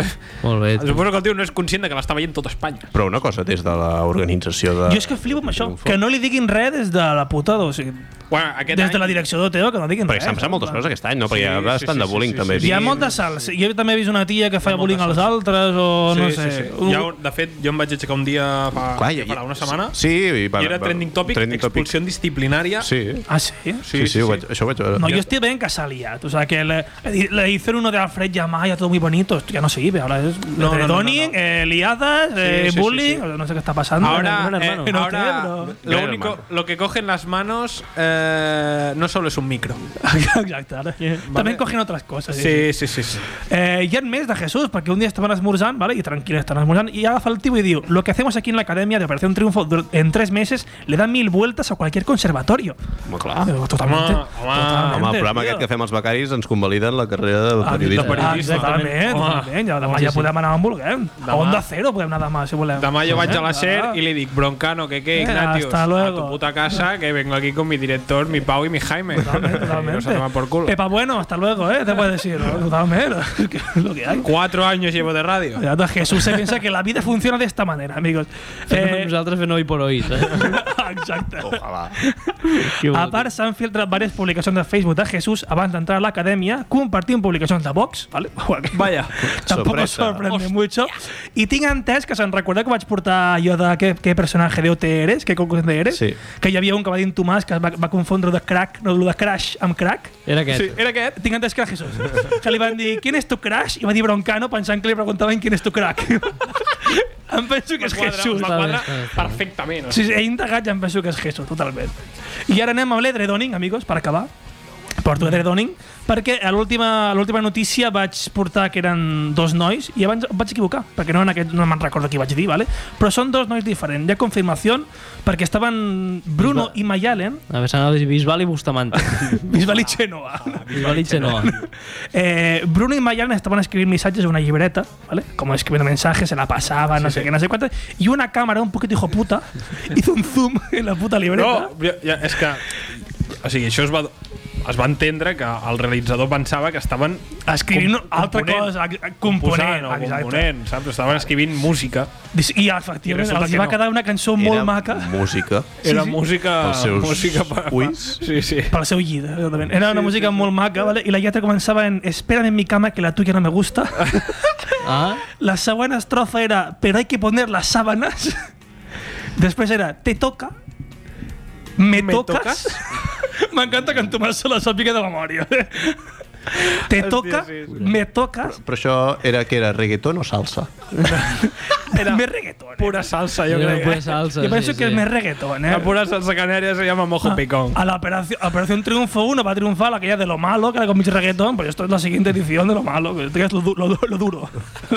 B: Molt bé.
E: Suposo que el tio no és conscient de que l'està veient tot Espanya.
D: Però una cosa des de l'organització de...
G: Jo és que flipo amb això, que no li diguin res des de la puta, o sigui,
E: bueno,
G: des de la direcció d'OTO, que no diguin
D: Perquè
G: res.
D: s'han passat moltes coses aquest any, no? Perquè sí, va estar sí, de bullying, sí, també.
G: Hi ha molta sal. Sí, Jo també he vist una tia que fa bullying als altres, o no sé. eh, un-
E: Ja, de fet, jo em vaig aixecar un dia fa,
G: Ah,
E: Clar,
D: Clar, i-
E: farà una setmana
D: Sí, i, va,
E: i era
D: va-
E: trending topic,
D: trending topic.
E: expulsió disciplinària.
D: Sí.
G: Ah, sí? Sí,
D: sí, sí, sí, ho vaig, això ho vaig
E: Pues
D: veure.
G: No, yo estoy bien que se ha liado. O sea, que le, le hicieron uno de Alfred Yamaya, todo muy bonito. Esto ya no sirve. Ahora es
E: No,
G: entre
E: no, no,
G: Donnie, eh, liadas, eh,
E: sí, sí,
G: bullying. No sé qué está pasando.
E: Ahora,
G: Gran hermano.
E: eh,
G: Pero
E: ahora,
G: usted, bro.
E: lo único, lo que coge en las manos eh, no solo es un micro.
G: Exacte, ara. También cogen otras cosas.
E: Sí, sí, sí. sí.
G: Eh, hi ha més de Jesús, perquè un dia estaven esmorzant, vale? i tranquil, estan esmorzant, i agafa el tio i diu lo que hacemos aquí en la academia de Operación Triunfo dur- en tres meses le da mil vueltas a cualquier conservatorio.
D: Home, clar.
G: Home, totalmente.
D: Home, home, el programa aquest que fem els becaris ens convaliden la carrera de periodista.
G: Ah, exactament, totalment. Ja, demà
E: Sí,
G: ja
E: sí.
G: podem anar on vulguem. A
E: Demà.
G: Onda Cero podem anar demà, si volem.
E: Demà jo vaig a la
G: Eh,
E: SER
G: clar.
E: i li dic, broncano, que qué,
G: Eh,
E: Ignatius,
G: hasta
E: a
G: luego.
E: tu puta casa, que vengo aquí con mi director, mi Pau y mi Jaime. Y nos toman por culo.
G: Pepa Bueno, hasta luego, ¿eh? Te puedes decir, totalmente. lo que hay.
E: Cuatro años llevo de radio.
G: Ya, da, Jesús se piensa que la vida funciona de esta manera, amigos. Eh,
B: Nosaltres fent oi per oi.
G: Exacte.
D: Ojalà.
G: a part, s'han filtrat diverses publicacions de Facebook de Jesús abans d'entrar a l'acadèmia, compartint publicacions de Vox, ¿vale?
E: Vaya.
G: Tampoco
E: Sorpresa.
G: sorprende em mucho. I tinc entès que se'n recorda que vaig portar allò de què, què personatge d'OT eres, què concurs eres,
D: Sí.
G: que hi havia un que va dir en Tomàs que es va, va confondre de crack, no, lo de crash amb crack.
B: Era aquest. Sí,
G: era aquest. Tinc entès que era Jesús. que li van dir, ¿quién es tu crash? I va dir Broncano pensant que li preguntaven ¿quién es tu crack? em penso que és
E: Quadra-
G: Jesús.
E: va quadrar perfectament. o
G: Sí, sí,
E: sigui.
G: he indagat i em penso que és Jesús, totalment. I ara anem amb l'Edre Donning, amigos, per acabar. Porto Edre Donning, perquè a l'última a l'última notícia vaig portar que eren dos nois i abans em vaig equivocar, perquè no, en aquest, no me'n recordo qui vaig dir, vale? però són dos nois diferents. Hi ha confirmació perquè estaven Bruno i Mayalen,
B: A veure, s'anava a dir Bisbal i Bustamante.
G: Bisbal i Chenoa.
B: Bisbal i Chenoa.
G: Eh, Bruno y Mayan estaban escribiendo mensajes en una libreta, ¿vale? Como escribiendo mensajes, se la pasaban, no sé qué, no sé cuántas. Y una cámara, un poquito hijo puta, hizo un zoom en la puta libreta.
E: No, jo- ja, és que... O sigui, això es va, es va entendre que el realitzador pensava que estaven...
G: Escrivint
E: com-
G: altra
E: component,
G: cosa, component,
E: composant o
G: exacte.
E: component, saps? Estaven escrivint música.
G: I efectivament,
E: resulta
G: els
E: que
G: va
E: no.
G: quedar una cançó molt maca.
D: Música.
E: Era música-
D: Els seus
E: música per-
D: ulls.
E: Sí, sí.
G: Pel seu llit, exactament. Era una música molt maca, ¿vale? I la lletra començava en Espérame en mi cama que la tuya no me gusta.
B: Ah?
G: La següent estrofa era Pero hay que poner las sábanas. Després era Te toca. Me, tocas. M'encanta que en Tomàs se la sàpiga de memòria. Te
D: Hòstia,
G: toca,
D: sí, sí.
G: me tocas,
D: Però això era que era reggaeton o salsa?
G: era més reggaeton.
E: Pura salsa, jo
G: Era
E: crec.
G: pura salsa, Jo penso sí, que sí. és més reggaeton, eh?
E: La pura salsa canària se llama mojo picón.
G: Ah, A la Operación, a Operación Triunfo 1 va a triunfar aquella de lo malo, que era con mucho reggaetón, pues esto es la siguiente edición de lo malo, que esto ya es lo, du- lo du- lo duro.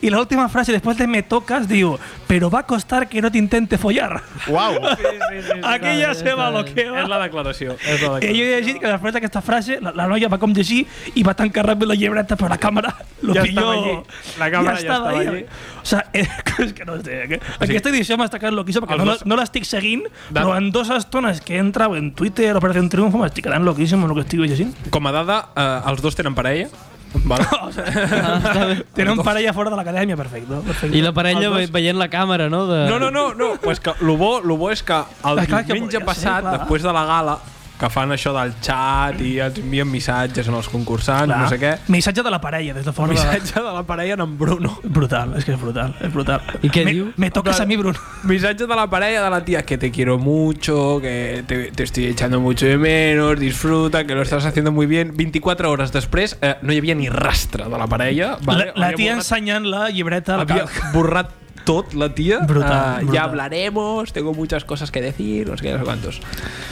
G: y la última frase, después de me tocas, digo, pero va a costar que no te intente follar.
D: ¡Wow!
G: aquella se va lo que va.
E: És la declaració. És la
G: I Eh, jo
E: declaració.
G: he llegit que després d'aquesta frase la, la noia va com llegir i va tancar ràpid la llibreta però la càmera lo
E: Ja
G: pilló.
E: estava allí. La càmera ja estava
G: ahí.
E: allí.
G: O sea, eh, és que no sé. Que, aquesta edició m'ha destacat lo que hizo perquè
E: Els
G: no, la-
E: dos-
G: no l'estic seguint però en dues estones que entra en Twitter o Operación Triunfo m'estic quedant loquíssim amb lo que estic llegint.
E: Com a dada, eh, els dos tenen parella. Vale.
G: Tenen parella fora de l'acadèmia, perfecte. perfecte.
B: I la parella
G: Els
B: ve,
G: dos-
B: veient la càmera, no? De...
E: No, no, no, no. Pues que lo bo, lo bo és que el
B: Ah, clar que
E: diumenge
B: podria
E: passat,
B: ser, clar.
E: després de la gala, que fan això del xat i ens envien missatges en els concursants,
G: Clar.
E: no sé què.
G: Missatge de la parella, des de fora.
E: Missatge de la parella en Bruno.
G: Brutal, és que és brutal, és brutal.
E: I què
G: me,
E: diu?
G: Me toques a mi, Bruno.
E: Missatge de la parella de la tía que te quiero mucho, que te, te estoy echando mucho de menos, disfruta, que lo estás haciendo muy bien. 24 horas després eh, no hi havia ni rastre de la parella. Vale?
G: La, la
E: Havia
G: tia
E: borrat-
G: ensenyant la llibreta. al
E: Havia
G: cap.
E: borrat tot la tia.
G: Brutal,
E: Eh,
G: brutal.
E: Ya hablaremos, tengo muchas cosas que decir, no sé qué, no sé cuántos.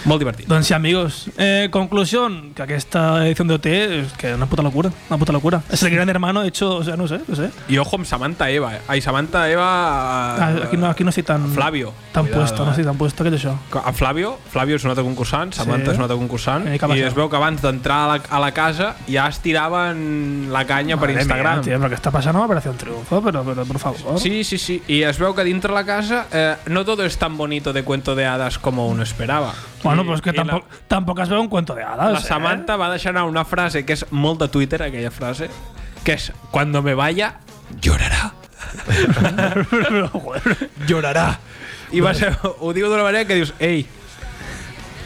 E: Molt divertit.
G: Doncs sí, amigos. Eh, conclusión, que aquesta edició de OT és que una puta locura, una puta locura. Es el gran hermano hecho, o sea, no sé, no sé.
E: I ojo amb Samantha Eva. eh? Ai, Samantha Eva... eh,
G: Ah, Aquí no, aquí no estic tan...
E: Flavio. Cuidado,
G: Tan
E: eh.
G: puesto, no estic tan puesto que és això.
E: a Flavio, Flavio és un altre concursant, Samantha
G: Sí.
E: és un altre concursant,
G: Eh,
E: i,
G: què ha passat?
E: es veu que abans d'entrar a, la, a la casa ja es tiraven la canya per
G: Madre
E: Instagram.
G: Mía, tío, però què està passant amb Operación Triunfo? Però, però, per favor.
E: sí, sí, sí. Sí, y es veu que dintre la casa eh, no todo es tan bonito de cuento de hadas como uno esperaba.
G: Bueno, però és que tampoc, tampoc es veu un cuento de ¿eh? hades.
E: La Samantha va deixar anar una frase que és molt de Twitter, aquella frase, que és «Cuando me vaya, llorará». I va ser, ho diu d'una manera que dius «Ei,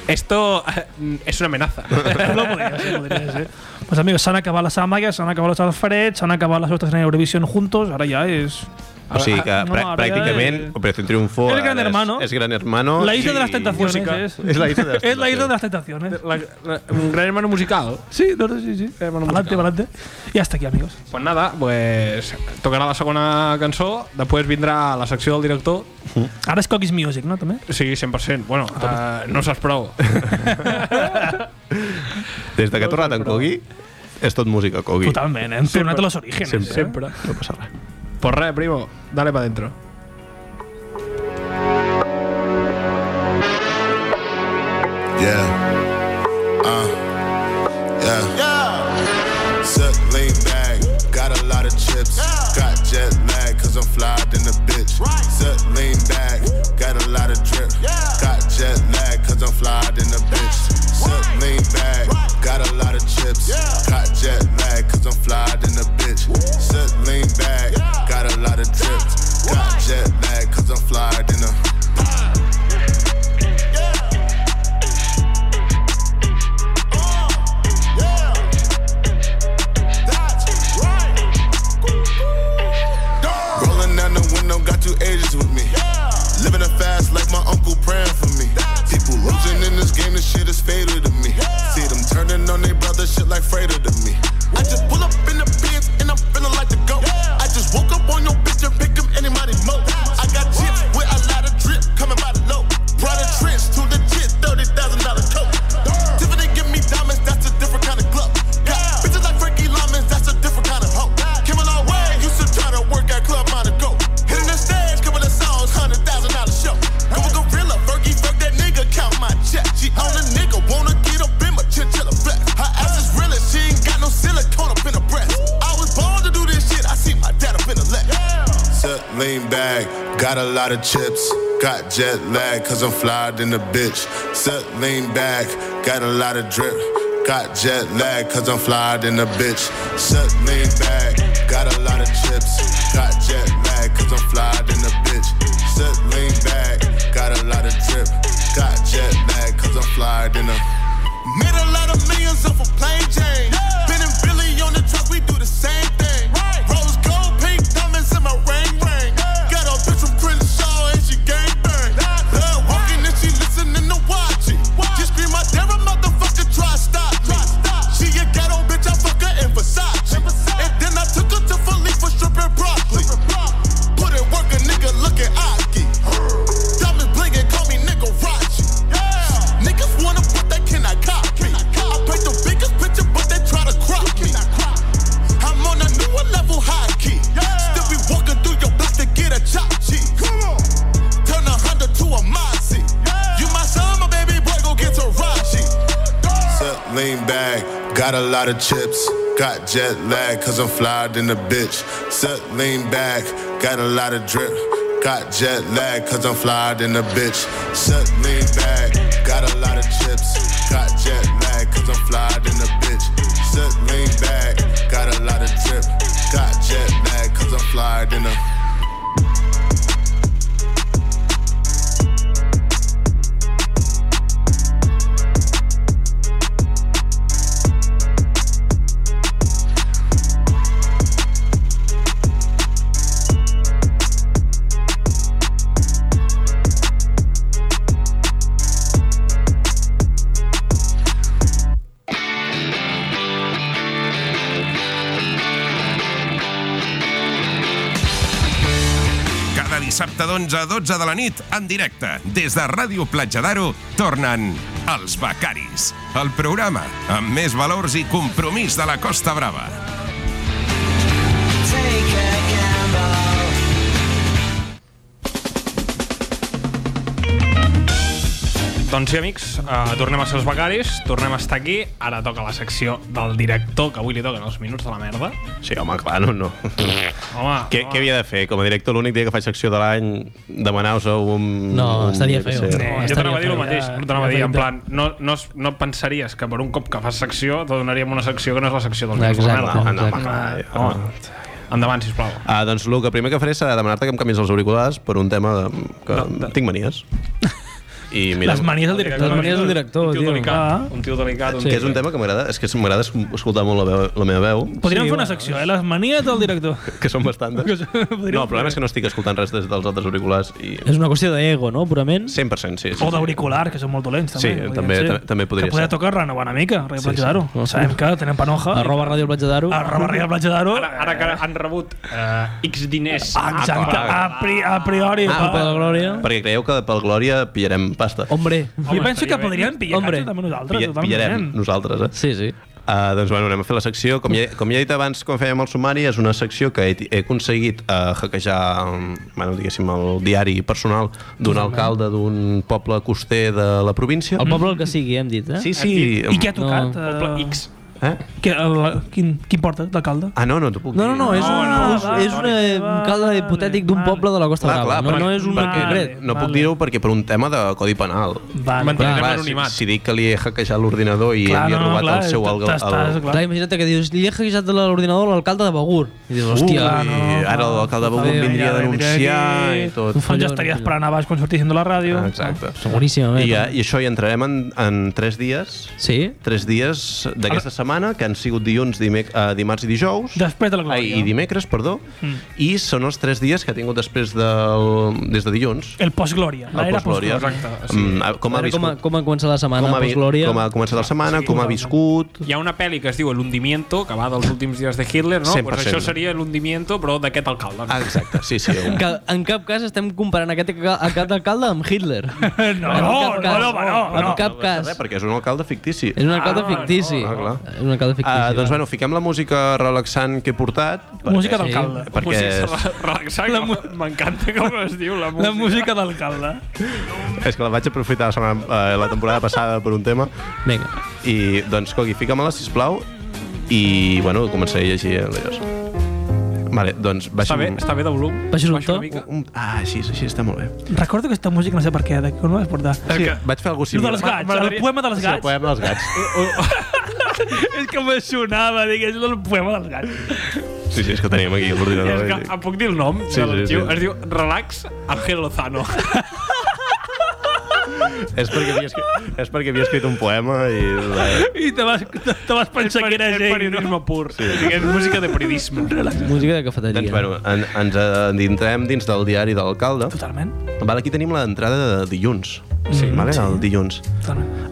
E: esto eh, es una amenaza».
G: no podria ser, podria ser. Pues amigos, se han acabado las amagas, se han acabado los alfreds, se han acabado las otras en Eurovisión juntos, ahora ya es...
D: O sigui que
G: No,
D: prà-
G: ara
D: pràcticament
G: és-
D: Operación Triunfo
G: És Gran
D: ara
G: Hermano.
D: És, és Gran Hermano.
G: La isla de las
D: i-
G: tentaciones
D: música.
G: es.
D: És la isla de les
G: Es la isla
D: tentaciones.
G: de las tentaciones.
E: un gran hermano musical.
G: Sí, no, no, sí, Eh, sí. Adelante, adelante. Y hasta aquí, amigos.
E: Pues nada, pues tocarà la segona cançó, després vindrà la secció del director.
G: Ara és Coquis Music, no, també?
E: Sí, 100%. Bueno, uh, no saps prou.
D: Des de que ha tornat en Kogi, és tot música Kogi.
G: Totalment, hem tornat a los orígenes,
D: Sempre.
G: eh?
E: Sempre.
D: No passa res.
E: Pues res, primo, dale pa dentro.
L: Yeah. Uh. Yeah. Yeah. Sip, lean back. Got a lot of chips. Got jet lag, cause I'm flyed in the bitch. Right. Sip, lean back. Got a lot of drip. Got jet lag, cause I'm flyed in the bitch. Sip, lean back. Got a lot of chips. Got jet lag, cause I'm flyed in the bitch. Sip, lean back. Got a lot of drip. Got jet lag, cause I'm flyed in the Rolling down the window, got two Asians with me. Living a fast life, my uncle praying for me. People losing in this game, this shit is fatal to me. See them turning on their brother, shit like freighter to me. I just pull up in the bins and I'm feeling like the goat. I just woke up on your bitch and pick 'em anybody mo. I got chips with a lot of drip coming by the low. Brought a trench to the jit, thirty thousand dollar coat. Tiffany give me diamonds, that's a different kind of glove. Got bitches like Frankie Lyman's, that's a different kind of hoe. Came a long way, used to try to work at Club Monaco. Hitting the stage, couple of songs, hundred thousand dollar show. Go a gorilla, Fergie, fuck that nigga, count my check. She on a nigga, wanna get up in my chinchilla flex. Her ass is real, and she ain't got no silicone up in her breast. I was born to do this shit, I see my dad up in the left.
O: Set
L: lean back, got a lot of chips. Got jet lag, cause I'm flyed in the bitch. Set lean back, got a lot of drip. Got jet lag, cause I'm flyed in the bitch. Set lean back, got a lot of chips. Got jet lag, cause I'm flyed in the bitch. Set lean back, got a lot of drip. Got jet lag, cause I'm flyed in the
O: Made a lot of millions off a plane chain.
L: Ben and Billy on the truck, we do the same thing. Rose gold, pink diamonds in my ring ring. Got a bitch from Crenshaw and she gang bang. Love walking and she listening to watch it. She scream, my damn motherfucker, try to stop me. She a ghetto bitch, I fuck her in Versace. And then I took her to Philly for stripping broccoli. Put in work, a nigga looking Aki. Diamonds blinking, call me nigga Rachi. Niggas wanna put that cannot copy. I paint the biggest picture, but they try to crop me. I'm on a newer level hockey. Still be walking through your block to get a chop cheek. Turn a Honda to a Moxie. You my son, my baby boy, go get to Rashi. Set, lean back, got a lot of chips. Got jet lag, cause I'm flyed in the bitch. Set, lean back, got a lot of drip. Got jet lag, cause I'm flyed in the bitch. Set, lean back, got a lot of chips. Got jet lag, cause I'm flyed in the bitch. Set, lean back, got a lot of drip. Got jet lag, cause I'm flyed in the
C: Cada dissabte d'11 a 12 de la nit, en directe, des de Ràdio Platja d'Aro, tornen Els Becaris, el programa amb més valors i compromís de la Costa Brava.
E: Doncs sí, amics, eh, tornem a ser els becaris, tornem a estar aquí. Ara toca la secció del director, que avui li toquen els minuts de la merda.
D: Sí, home, clar, no, no.
E: Home,
D: què, què havia de fer? Com a director, l'únic dia que faig secció de l'any, demanar-vos un...
B: No,
D: un,
B: estaria feo.
D: Sí.
B: No,
E: jo t'anava a dir el
B: feo,
E: mateix,
B: ja-
E: jo t'anava a dir,
B: ja
E: en
B: faria
E: plan, no, no, es- no pensaries que per un cop que fas secció te donaríem una secció que no és la secció dels minuts de la
D: Exacte,
E: merda.
D: exacte.
E: No, no, home, endavant, sisplau.
D: Ah, doncs el que primer que faré serà demanar-te que em canvies els auriculars per un tema de, que no, tinc manies. I mira,
G: Les manies del director.
B: Les manies del director,
E: Un tio
B: tio.
E: delicat, un tio delicat.
D: que és un tema que m'agrada, és que m'agrada escoltar molt la, veu, la meva veu.
G: Podríem fer una secció, eh? Les manies del director.
D: Que són bastantes. No, el problema és que no estic escoltant res des dels altres auriculars. I...
B: És una qüestió d'ego, no? Purament.
D: 100%, sí. sí.
G: O d'auricular, que són molt dolents, també.
D: Sí,
G: podríem
D: també-
G: ser.
D: ta- també podria
G: que podria
D: ser.
G: tocar renovar una mica, Ràdio Platja d'Aro.
B: sí.
G: Sabem que tenen panoja.
B: Arroba Ràdio Platja d'Aro.
G: Arroba Ràdio Platja d'Aro.
E: Ara, ara que han rebut eh, X diners.
G: Exacte, a, pri, a priori.
D: Ah,
G: va.
D: pel Glòria. Perquè creieu que pel Glòria pillarem pasta.
B: Hombre.
G: Jo penso que podríem pillar eh? Hombre. també nosaltres,
D: Pilla,
G: totalment.
D: pillarem nosaltres, eh?
B: Sí, sí.
D: Uh, doncs bueno, anem a fer la secció. Com ja, com ja he dit abans, quan fèiem el sumari, és una secció que he, he aconseguit uh, hackejar um, bueno, diguéssim, el diari personal d'un alcalde d'un poble coster de la província.
B: El poble el que sigui, hem dit, eh?
D: Sí, sí.
G: I què ha tocat? No. Poble
E: X.
D: Eh?
G: Que, el, quin, quin porta, d'alcalde?
D: Ah, no, no t'ho puc
B: No, no, no, és, no, no, és, és un, eh, un calde hipotètic d'un poble de la Costa
D: Clar,
B: Brava.
D: clar,
B: no,
D: perquè-
B: no és un
D: perquè
B: concret.
D: No puc dir-ho perquè per un tema de codi penal.
G: Vale.
B: Mantindrem
D: si,
B: anonimat.
D: si dic que li he hackejat l'ordinador i
B: Clar,
D: li he
B: no, no,
D: robat
B: clar,
D: el seu... El, el,
B: Clar, imagina't que dius, li he hackejat de l'ordinador a l'alcalde de Begur. I
D: Uh,
B: dius, hòstia...
D: Ui, ara l'alcalde de Begur vindria a denunciar i tot.
G: Doncs ja estaria esperant abans quan sortissin de la ràdio.
D: Ah, Exacte.
B: Seguríssimament.
D: I, ja, I això hi entrarem en, en tres dies.
B: eh, Sí.
D: Tres dies d'aquesta setmana, que han sigut dilluns, dimec, eh, dimarts i dijous.
G: Després de la
D: Ai, I dimecres, perdó.
B: Mm.
D: I són els tres dies que ha tingut després del, des de dilluns.
B: Eh,
G: El postglòria.
D: El postglòria. Mm, ah, com
B: Ara com,
D: ha
B: ha,
D: viscut?
B: com ha començat la setmana,
D: Com ha, vi-
B: postglòria.
D: com ha començat la setmana, com ha viscut...
E: Hi ha una pel·li que es diu El hundimiento, que va dels últims dies de Hitler, no?
D: 100%.
E: Pues això seria El hundimiento, però d'aquest alcalde.
D: Ah, exacte, sí, sí. un-
B: Que en cap cas estem comparant aquest, ca- aquest alcalde amb Hitler.
G: No, no, no, no, no,
B: en cap cas.
D: Res, perquè és un alcalde fictici.
B: És un alcalde fictici.
D: Ah, clar.
B: És un alcalde fictici.
D: Ah, doncs, bueno, fiquem la música relaxant que he portat.
G: Música
D: perquè-
G: d'alcalde.
D: Perquè...
E: Relaxant, que m'encanta com es diu la música.
G: La música d'alcalde.
D: És que la vaig aprofitar la, setmana, eh, la temporada passada per un tema.
B: Vinga.
D: I, doncs, Cogui, fica-me-la, sisplau, i, bueno, començaré a llegir l'Eos. Vale, doncs
E: Està
D: baixa'm...
E: bé, està bé de volum.
B: Baixes un
E: Baixa
B: to?
E: una mica.
D: Ah, així, així està molt bé.
G: Recordo que aquesta música, no sé per què, de quan no vas portar.
D: Sí, vaig fer alguna cosa
G: Lo dels gats, el poema dels
D: Sí, el
G: gats.
D: poema dels gats.
G: és que me sonava, dic, és el poema dels gats.
D: Sí, sí, és que tenim aquí l'ordinador.
E: És que, em puc dir el nom
D: Sí,
E: de l'arxiu?
D: sí, sí.
E: Es diu Relax Ángel Lozano.
D: És perquè, havia escrit, és perquè havia escrit un poema i...
G: I te vas, te, te vas pensar que era
E: És
G: gent.
E: periodisme pur. Sí. És música de periodisme.
B: Música de cafeteria.
D: Doncs, bueno, en, ens endintrem dins del diari de l'alcalde.
G: Totalment.
D: Val, aquí tenim l'entrada de dilluns. Sí. Vale, sí. El dilluns.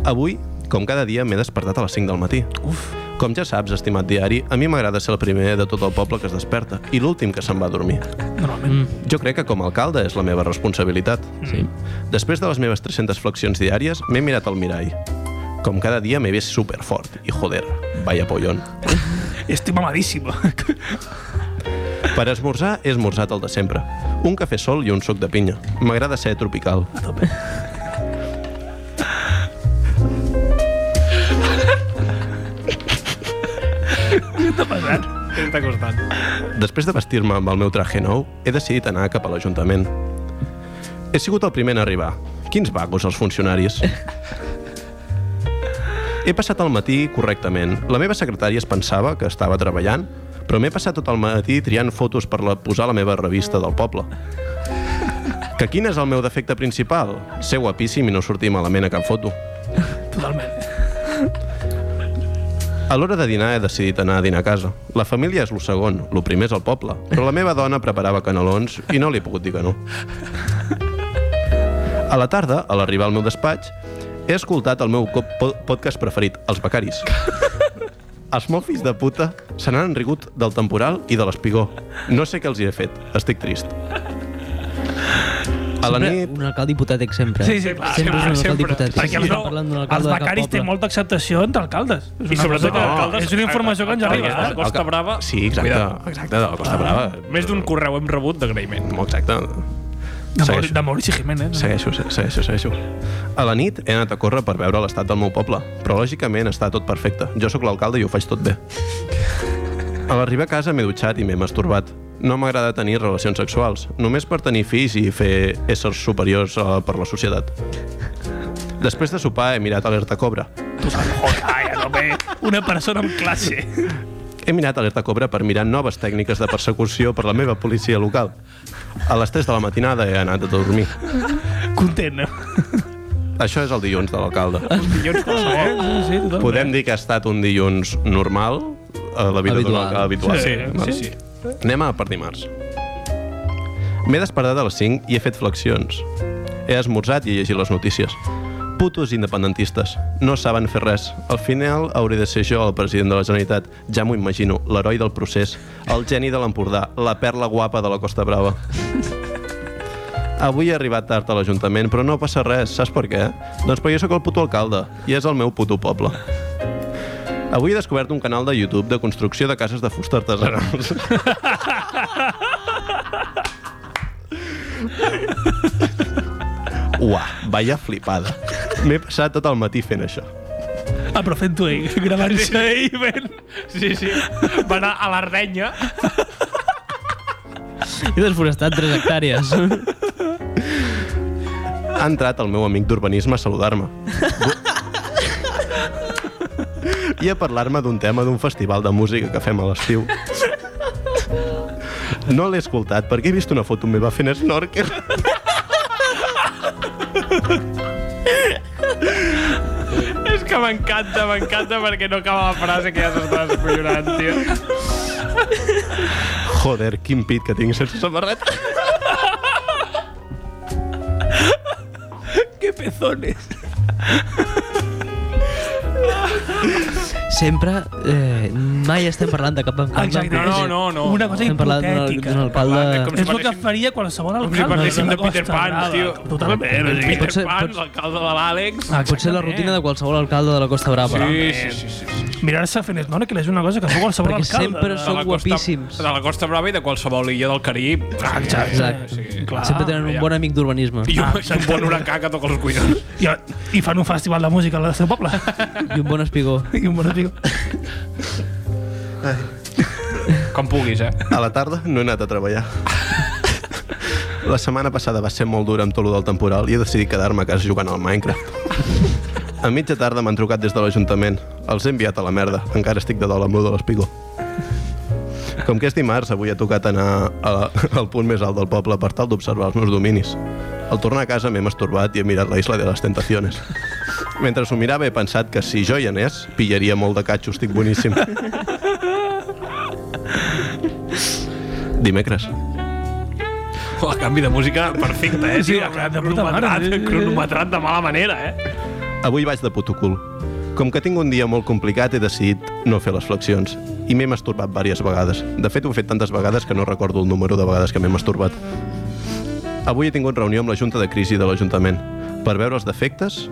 D: Avui, com cada dia, m'he despertat a les 5 del matí. Uf. Com ja saps, estimat diari, a mi m'agrada ser el primer de tot el poble que es desperta i l'últim que se'n va a dormir.
G: Normalment.
D: Jo crec que com a alcalde és la meva responsabilitat.
B: Sí.
D: Després de les meves 300 flexions diàries, m'he mirat al mirall. Com cada dia m'he vist superfort i joder, vaya pollón.
G: Estic mamadíssim.
D: Per esmorzar, he esmorzat el de sempre. Un cafè sol i un suc de pinya. M'agrada ser tropical.
G: Què t'ha passat?
E: Què t'ha costat?
D: Després de vestir-me amb el meu traje nou, he decidit anar cap a l'Ajuntament. He sigut el primer en arribar. Quins vagos, els funcionaris. He passat el matí correctament. La meva secretària es pensava que estava treballant, però m'he passat tot el matí triant fotos per la, posar a la meva revista del poble. Que quin és el meu defecte principal? Ser guapíssim i no sortir malament a cap foto.
G: Totalment.
D: A l'hora de dinar he decidit anar a dinar a casa. La família és lo segon, lo primer és el poble, però la meva dona preparava canelons i no li he pogut dir que no. A la tarda, a l'arribar al meu despatx, he escoltat el meu co- po- podcast preferit, Els Becaris. Els molt fills de puta se n'han rigut del temporal i de l'espigó. No sé què els hi he fet, estic trist. A la
B: Sempre
D: nit...
B: Un alcalde hipotètic, sempre.
G: Sí, sí, clar,
B: sempre és un
G: clar,
B: alcalde
G: sempre.
B: hipotètic.
G: Perquè els,
B: Estem
G: no-
B: parlant d'un
G: els
B: alcalde de cap
G: becaris té
B: poble.
G: molta acceptació entre alcaldes. És una
E: sobretot
G: cosa-
E: entre alcaldes.
G: És una informació que ens
E: Perquè
G: arriba. eh,
E: és la Costa Brava.
D: Sí, exacte,
E: Cuidado.
D: exacte, de la Costa Brava.
E: Més d'un correu hem rebut d'agraïment.
D: Exacte.
G: De, Mauri,
D: Segueixo.
G: de Maurici Jiménez. eh?
D: Segueixo, se- segueixo, segueixo. A la nit he anat a córrer per veure l'estat del meu poble, però lògicament està tot perfecte. Jo sóc l'alcalde i ho faig tot bé. A l'arribar a casa m'he dutxat i m'he masturbat. No m'agrada tenir relacions sexuals, només per tenir fills i fer éssers superiors eh, per la societat. Després de sopar he mirat Alerta Cobra.
G: Ai, a tope. Una persona amb classe.
D: He mirat Alerta Cobra per mirar noves tècniques de persecució per la meva policia local. A les 3 de la matinada he anat a dormir.
G: Content. eh?
D: Això és el dilluns de l'alcalde.
G: Dilluns qualsevol. Sí, sí, totalment.
D: Podem dir que ha estat un dilluns normal a la vida
G: Habitual.
D: habitual. habitual.
G: Sí,
D: Vale.
G: sí, sí.
D: Anem a per dimarts. M'he despertat a les 5 i he fet flexions. He esmorzat i he llegit les notícies. Putos independentistes. No saben fer res. Al final hauré de ser jo el president de la Generalitat. Ja m'ho imagino. L'heroi del procés. El geni de l'Empordà. La perla guapa de la Costa Brava. Avui he arribat tard a l'Ajuntament, però no passa res. Saps per què? Doncs perquè jo sóc el puto alcalde i és el meu puto poble. Avui he descobert un canal de YouTube de construcció de cases de fusta artesanals. Uah, vaya flipada. M'he passat tot el matí fent això.
G: Ah, però fent-ho ell, gravant-se ell, ben...
E: Sí, sí. Va anar a la renya.
B: He desforestat 3 hectàrees.
D: Ha entrat el meu amic d'urbanisme a saludar-me. I a parlar-me d'un tema d'un festival de música que fem a l'estiu. No l'he escoltat perquè he vist una foto meva fent snorkel.
E: És que m'encanta, m'encanta perquè no acaba la frase que ja s'està descollonant, tio.
D: Joder, quin pit que tinc sense samarreta.
G: Qué pezones.
B: Sempre, eh, mai estem parlant de cap alcalde.
G: Exacte, és Una cosa
B: Estem parlant d'un-
G: hipotètica.
B: d'un alcalde...
G: És el que faria qualsevol alcalde.
E: si parléssim
G: la
E: de Peter
G: Costa
E: Pan,
G: Brava.
E: tio.
G: Totalment. o sigui,
B: Pot ser-
E: Pan, l'alcalde de l'Àlex.
B: Ah, potser la rutina de qualsevol alcalde de la Costa Brava.
E: Sí, sí, sí. sí, sí.
G: Mirar-se fent esnona, que és una cosa que fa qualsevol
B: Perquè
G: alcalde.
B: sempre són
E: la costa-
B: guapíssims.
E: De la Costa Brava i de qualsevol illa del Carib. Ah,
G: exacte.
E: Sí.
G: Clar.
B: Sempre tenen un bon amic d'urbanisme.
E: I un, i un bon huracà que toca els collons.
G: I, I fan un festival de música al seu poble.
B: I un bon espigó.
G: I un bon espigó.
E: Com puguis, eh?
D: A la tarda no he anat a treballar. La setmana passada va ser molt dura amb tot lo del temporal i he decidit quedar-me a casa jugant al Minecraft. A mitja tarda m'han trucat des de l'Ajuntament. Els he enviat a la merda. Encara estic de dol amb lo de l'espigó. Com que és dimarts, avui ha tocat anar a la, al punt més alt del poble per tal d'observar els meus dominis. Al tornar a casa m'he masturbat i he mirat la Isla de les Tentaciones. Mentre s'ho mirava he pensat que si jo hi anés, pillaria molt de catxo, estic boníssim. Dimecres.
E: El canvi de música perfecte, eh? Sí,
G: de puta mare.
E: cronometrat, cronometrat de mala manera, eh?
D: Avui vaig de puto cul. Com que tinc un dia molt complicat, he decidit no fer les flexions. I m'he masturbat diverses vegades. De fet, ho he fet tantes vegades que no recordo el número de vegades que m'he masturbat. Avui he tingut reunió amb la Junta de Crisi de l'Ajuntament per veure els defectes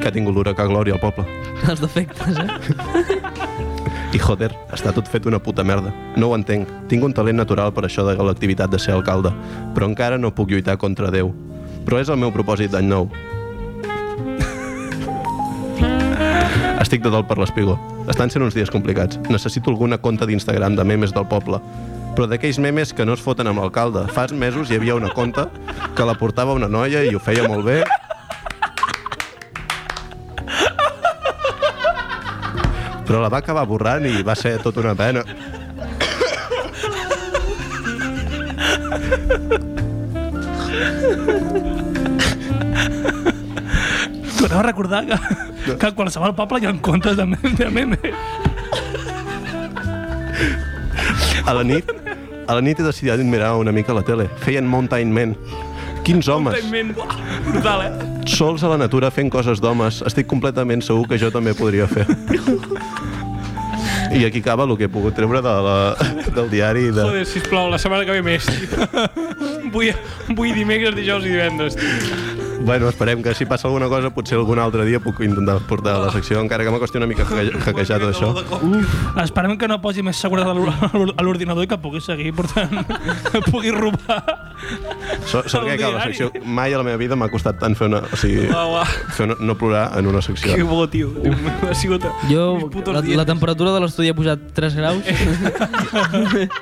D: que ha tingut l'huracà Glòria al poble.
B: Els defectes, eh?
D: I joder, està tot fet una puta merda. No ho entenc. Tinc un talent natural per això de l'activitat de ser alcalde, però encara no puc lluitar contra Déu. Però és el meu propòsit d'any nou. Estic de dol per l'espigó. Estan sent uns dies complicats. Necessito alguna conta d'Instagram de memes del poble. Però d'aquells memes que no es foten amb l'alcalde. Fa mesos hi havia una conta que la portava una noia i ho feia molt bé però la va acabar borrant i va ser tota una pena.
G: Torneu a recordar que, que a qualsevol poble hi ha comptes de, mem- de memes.
D: A la nit, a la nit he decidit mirar una mica la tele. Feien Mountain Men. Quins homes,
E: Totalment. Uah, Brutal, eh?
D: sols a la natura fent coses d'homes. Estic completament segur que jo també podria fer. I aquí acaba el que he pogut treure de la, del diari. De...
E: Joder, sisplau, la setmana que ve més, tio. Vull, vull dimecres, dijous i divendres, tio.
D: Bueno, esperem que si passa alguna cosa, potser algun altre dia puc intentar portar a la secció, encara que m'ha costat una mica hacke- hackejar tot això.
G: Esperem que no posi més seguretat a l'or- a l'ordinador i que pugui seguir portant... que pugui robar.
D: So- Sort que clar, la
G: diari.
D: secció... Mai a la meva vida m'ha costat tant fer una... O sigui,
G: Uau, uau.
D: fer una, no plorar en una secció.
E: Que bo, tio. Diu, Ha sigut...
B: Jo, la, la temperatura de l'estudi ha pujat 3 graus.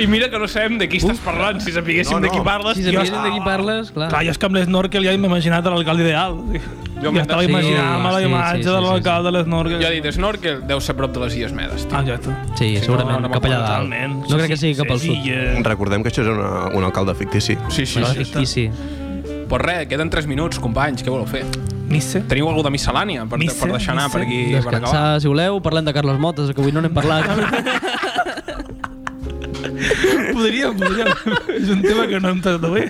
G: I mira que no sabem de qui estàs parlant, si sapiguéssim
B: No,
G: no, no.
B: no.
G: de qui parles.
B: Si
G: jo-
B: sabéssim de qui parles, clar.
G: Clar, jo és que amb l'Snorkel ja m'he imaginat l'alcalde ideal. Jo
E: m'he-
G: estava
E: sí,
G: imaginant-me la
E: sí,
G: imatge
E: sí, sí,
G: de l'alcalde de l'Snorkel.
E: Jo he dit snorkel, deu ser prop de les Illes Medes, tio.
G: Ah, exacte.
B: Sí, segurament, cap allà dalt. No crec que sigui cap al sud.
G: eh,
D: Recordem que això és una, un alcalde fictici.
E: Sí, sí, sí.
B: fictici.
E: Pues res, queden 3 minuts, companys, què voleu fer?
G: Missa.
E: Teniu alguna de miscel·lània per,
B: Missa,
E: per deixar anar
B: missa.
E: per aquí? Per acabar?
B: Descansar, si voleu, parlem de Carles Motes, que avui no n'hem parlat.
G: Podríem, podríem. és un tema que no hem tractat bé.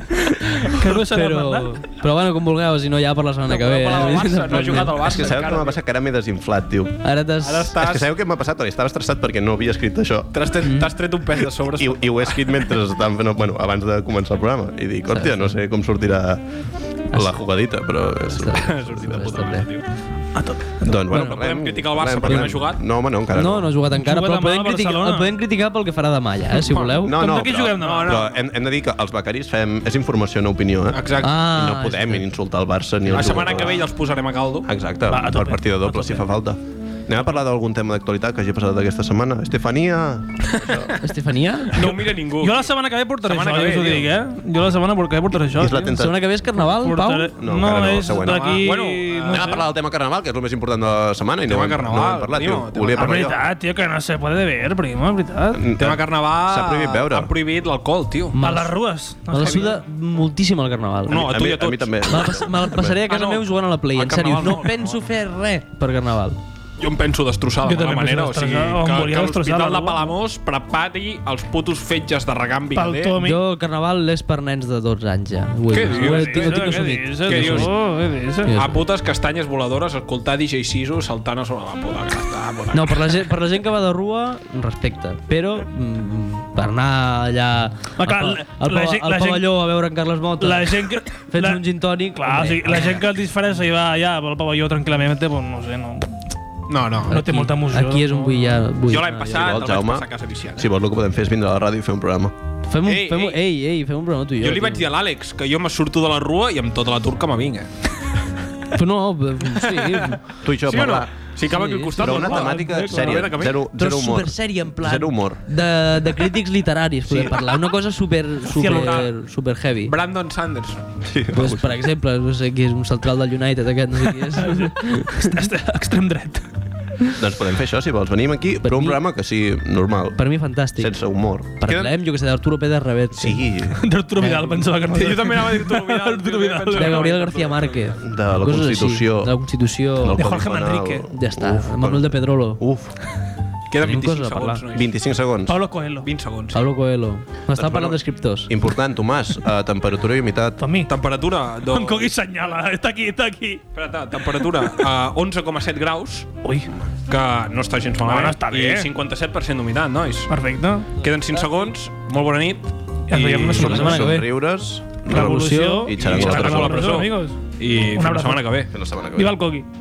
G: Que no s'ha de
B: però,
G: parlar.
B: però bueno, com vulgueu, si no ja per la setmana que ve. eh? Doncs
G: parlar del Barça, no ha jugat al
D: És que sabeu què m'ha passat? Que ara m'he desinflat, tio.
B: Ara t'has...
D: És que sabeu què m'ha passat? Oli? Estava estressat perquè no havia escrit això.
E: T'has
B: Mm.
E: tret, t'has tret un pes de sobre.
D: I, I ho he escrit mentre estàvem fent... Bueno, abans de començar el programa. I dic, hòstia, no sé com sortirà la jugadita, però... És...
E: Ha sortit de puta mare, tio.
D: Doncs, bueno, parlem-
E: No podem criticar el Barça
D: parlem-
E: perquè no ha
D: parlem.
E: jugat?
D: No, home, no, encara no.
B: No, no ha jugat encara,
D: Juga
B: però el
D: demà
B: podem,
D: a
B: criticar,
D: Barcelona.
B: el podem criticar pel que farà demà ja, eh, si voleu.
D: No, no, però,
B: no.
D: però hem, hem de dir que els becaris fem... És informació, no opinió, eh?
E: Exacte.
D: I
E: Ah,
D: no podem insultar el Barça ni el
E: La setmana
D: jugador.
E: que ve ja els posarem a caldo.
D: Exacte, Va, per partida doble, si fa falta. Anem a parlar d'algun tema d'actualitat que hagi passat aquesta setmana. Estefania...
B: Estefania?
E: No ho mira ningú.
G: Jo la setmana que ve portaré
E: Setmana
G: això,
E: que
G: ja
E: ve,
G: us ho
E: tio.
G: dic, eh? Jo la setmana que ve portaré això.
D: És la
E: eh?
G: tio.
D: tenta- Setmana que ve és
B: Carnaval,
G: Portaré-
D: No, encara no,
G: No,
D: el
G: és
D: següent.
G: d'aquí... Ah.
D: bueno, anem a parlar del tema carnaval, que és el més important de la setmana, i no ho hem, no ho hem parlat. Tio, volia
G: Ah,
D: parlar Mm, jo.
G: veritat, tio, que no se puede ver, primo, és veritat.
E: Tema carnaval...
D: S'ha prohibit beure.
E: Han prohibit l'alcohol, tio.
G: A les rues.
B: Me la suda moltíssim el carnaval.
E: No, a tu i a tots. A mi
D: també.
B: Me la, pas, me la passaré a casa meu jugant a la Play, en sèrio. No penso fer res per carnaval.
E: Jo em penso destrossar de
B: Jo
E: mala
B: també penso
E: manera. O sigui,
B: destrossar, o em
E: que,
B: volia
E: que
B: destrossar
E: l'hospital
B: la
E: de
B: rua.
E: Palamós prepari els putos fetges de regambi. eh?
B: Jo el carnaval és per nens de 12 anys ja. Ho he
E: Què
B: vist,
E: dius?
B: ho he- tinc- Ho tinc assumit.
E: Què
B: Tinc
E: dius?
G: Oh,
B: assumit.
E: A putes castanyes voladores, escoltar DJ Sisu saltant a sobre la puta. que està, puta.
B: No, per la, gent, per la gent que va de rua, respecte. Però mm, per anar allà
G: Va, clar,
B: al,
G: la-
B: pa- al,
G: la
B: pa-
G: gent-
B: al
G: la gent-
B: pavelló a veure en Carles Mota,
G: La gent que...
B: fets
G: la-
B: un gin tònic...
G: Clar, o sigui, la gent que el disfressa i va allà pel pavelló tranquil·lament, pues, no sé, no...
E: No, no.
G: No té molta emoció.
B: Aquí és un vull ja... Vull.
G: Jo l'any passat
D: Si
G: el
D: vols,
G: vaig
D: Jaume,
G: passar a casa viciant, eh?
D: si vols el que podem fer és vindre a la ràdio i fer un programa.
B: Fem un, fem un, ei, ei, fem un programa tu i jo.
E: Jo li vaig dir a l'Àlex que jo me surto de la rua i amb tota la turca me vinc, eh?
B: Però no, eh, sí.
D: Tu i jo,
E: sí o no?
D: parlar.
E: Si acaba aquí al costat...
D: Però una
E: la rua.
D: temàtica
E: Eh,
D: sèria,
E: verdaderament.
D: zero,
B: Però
D: zero humor.
B: supersèrie, en plan.
D: Zero humor.
B: De, de crítics literaris podem
E: Sí.
B: parlar. Una cosa super, super,
E: brutal.
B: super heavy.
E: Brandon Sanderson.
D: Sí,
B: pues, per exemple, no sé qui és un central del United, aquest, no sé qui és.
G: Extrem dret.
D: Doncs podem fer això, si vols. Venim aquí, però un programa que sí, normal.
B: Per mi fantàstic.
D: Sense humor.
B: Parlem, jo que sé, d'Arturo Pérez Rebet.
D: Sí.
E: Eh,
G: D'Arturo Vidal, pensava que no.
E: Jo també anava a dir Arturo Vidal.
G: Arturo Vidal.
B: De Gabriel García Márquez.
D: De la
B: Coses així.
D: Constitució.
B: De la Constitució.
D: Del De Jorge Codi Penal. Manrique.
B: Ja està.
D: Uf,
B: Manuel de Pedrolo.
D: Uf.
E: Queda
B: Tenim
E: 25
B: coses a parlar.
E: segons, nois.
D: 25 segons.
G: Pablo Coelho.
E: 20 segons.
B: Pablo Coelho. M'estava parlant d'escriptors.
D: Important, Tomàs, eh, temperatura i humitat.
G: Per mi.
E: Temperatura,
G: En
E: doncs...
G: Cogui senyala, està aquí, està aquí.
E: Espera, temperatura eh, a 11,7 graus.
G: Ui.
E: Que no està gens malament.
G: No, no està bé.
E: I 57% d'humitat, nois.
G: Perfecte.
E: Queden 5 segons. Molt bona nit.
G: Ja ens veiem la setmana que ve.
D: Somriures,
G: Revolució
D: i xarangola a la
E: xarangola a la
D: presó.
E: presó.
G: amigos.
E: I fins la
G: abrazo.
E: setmana que ve.
D: Fins la setmana que ve.
G: Viva el Cogui.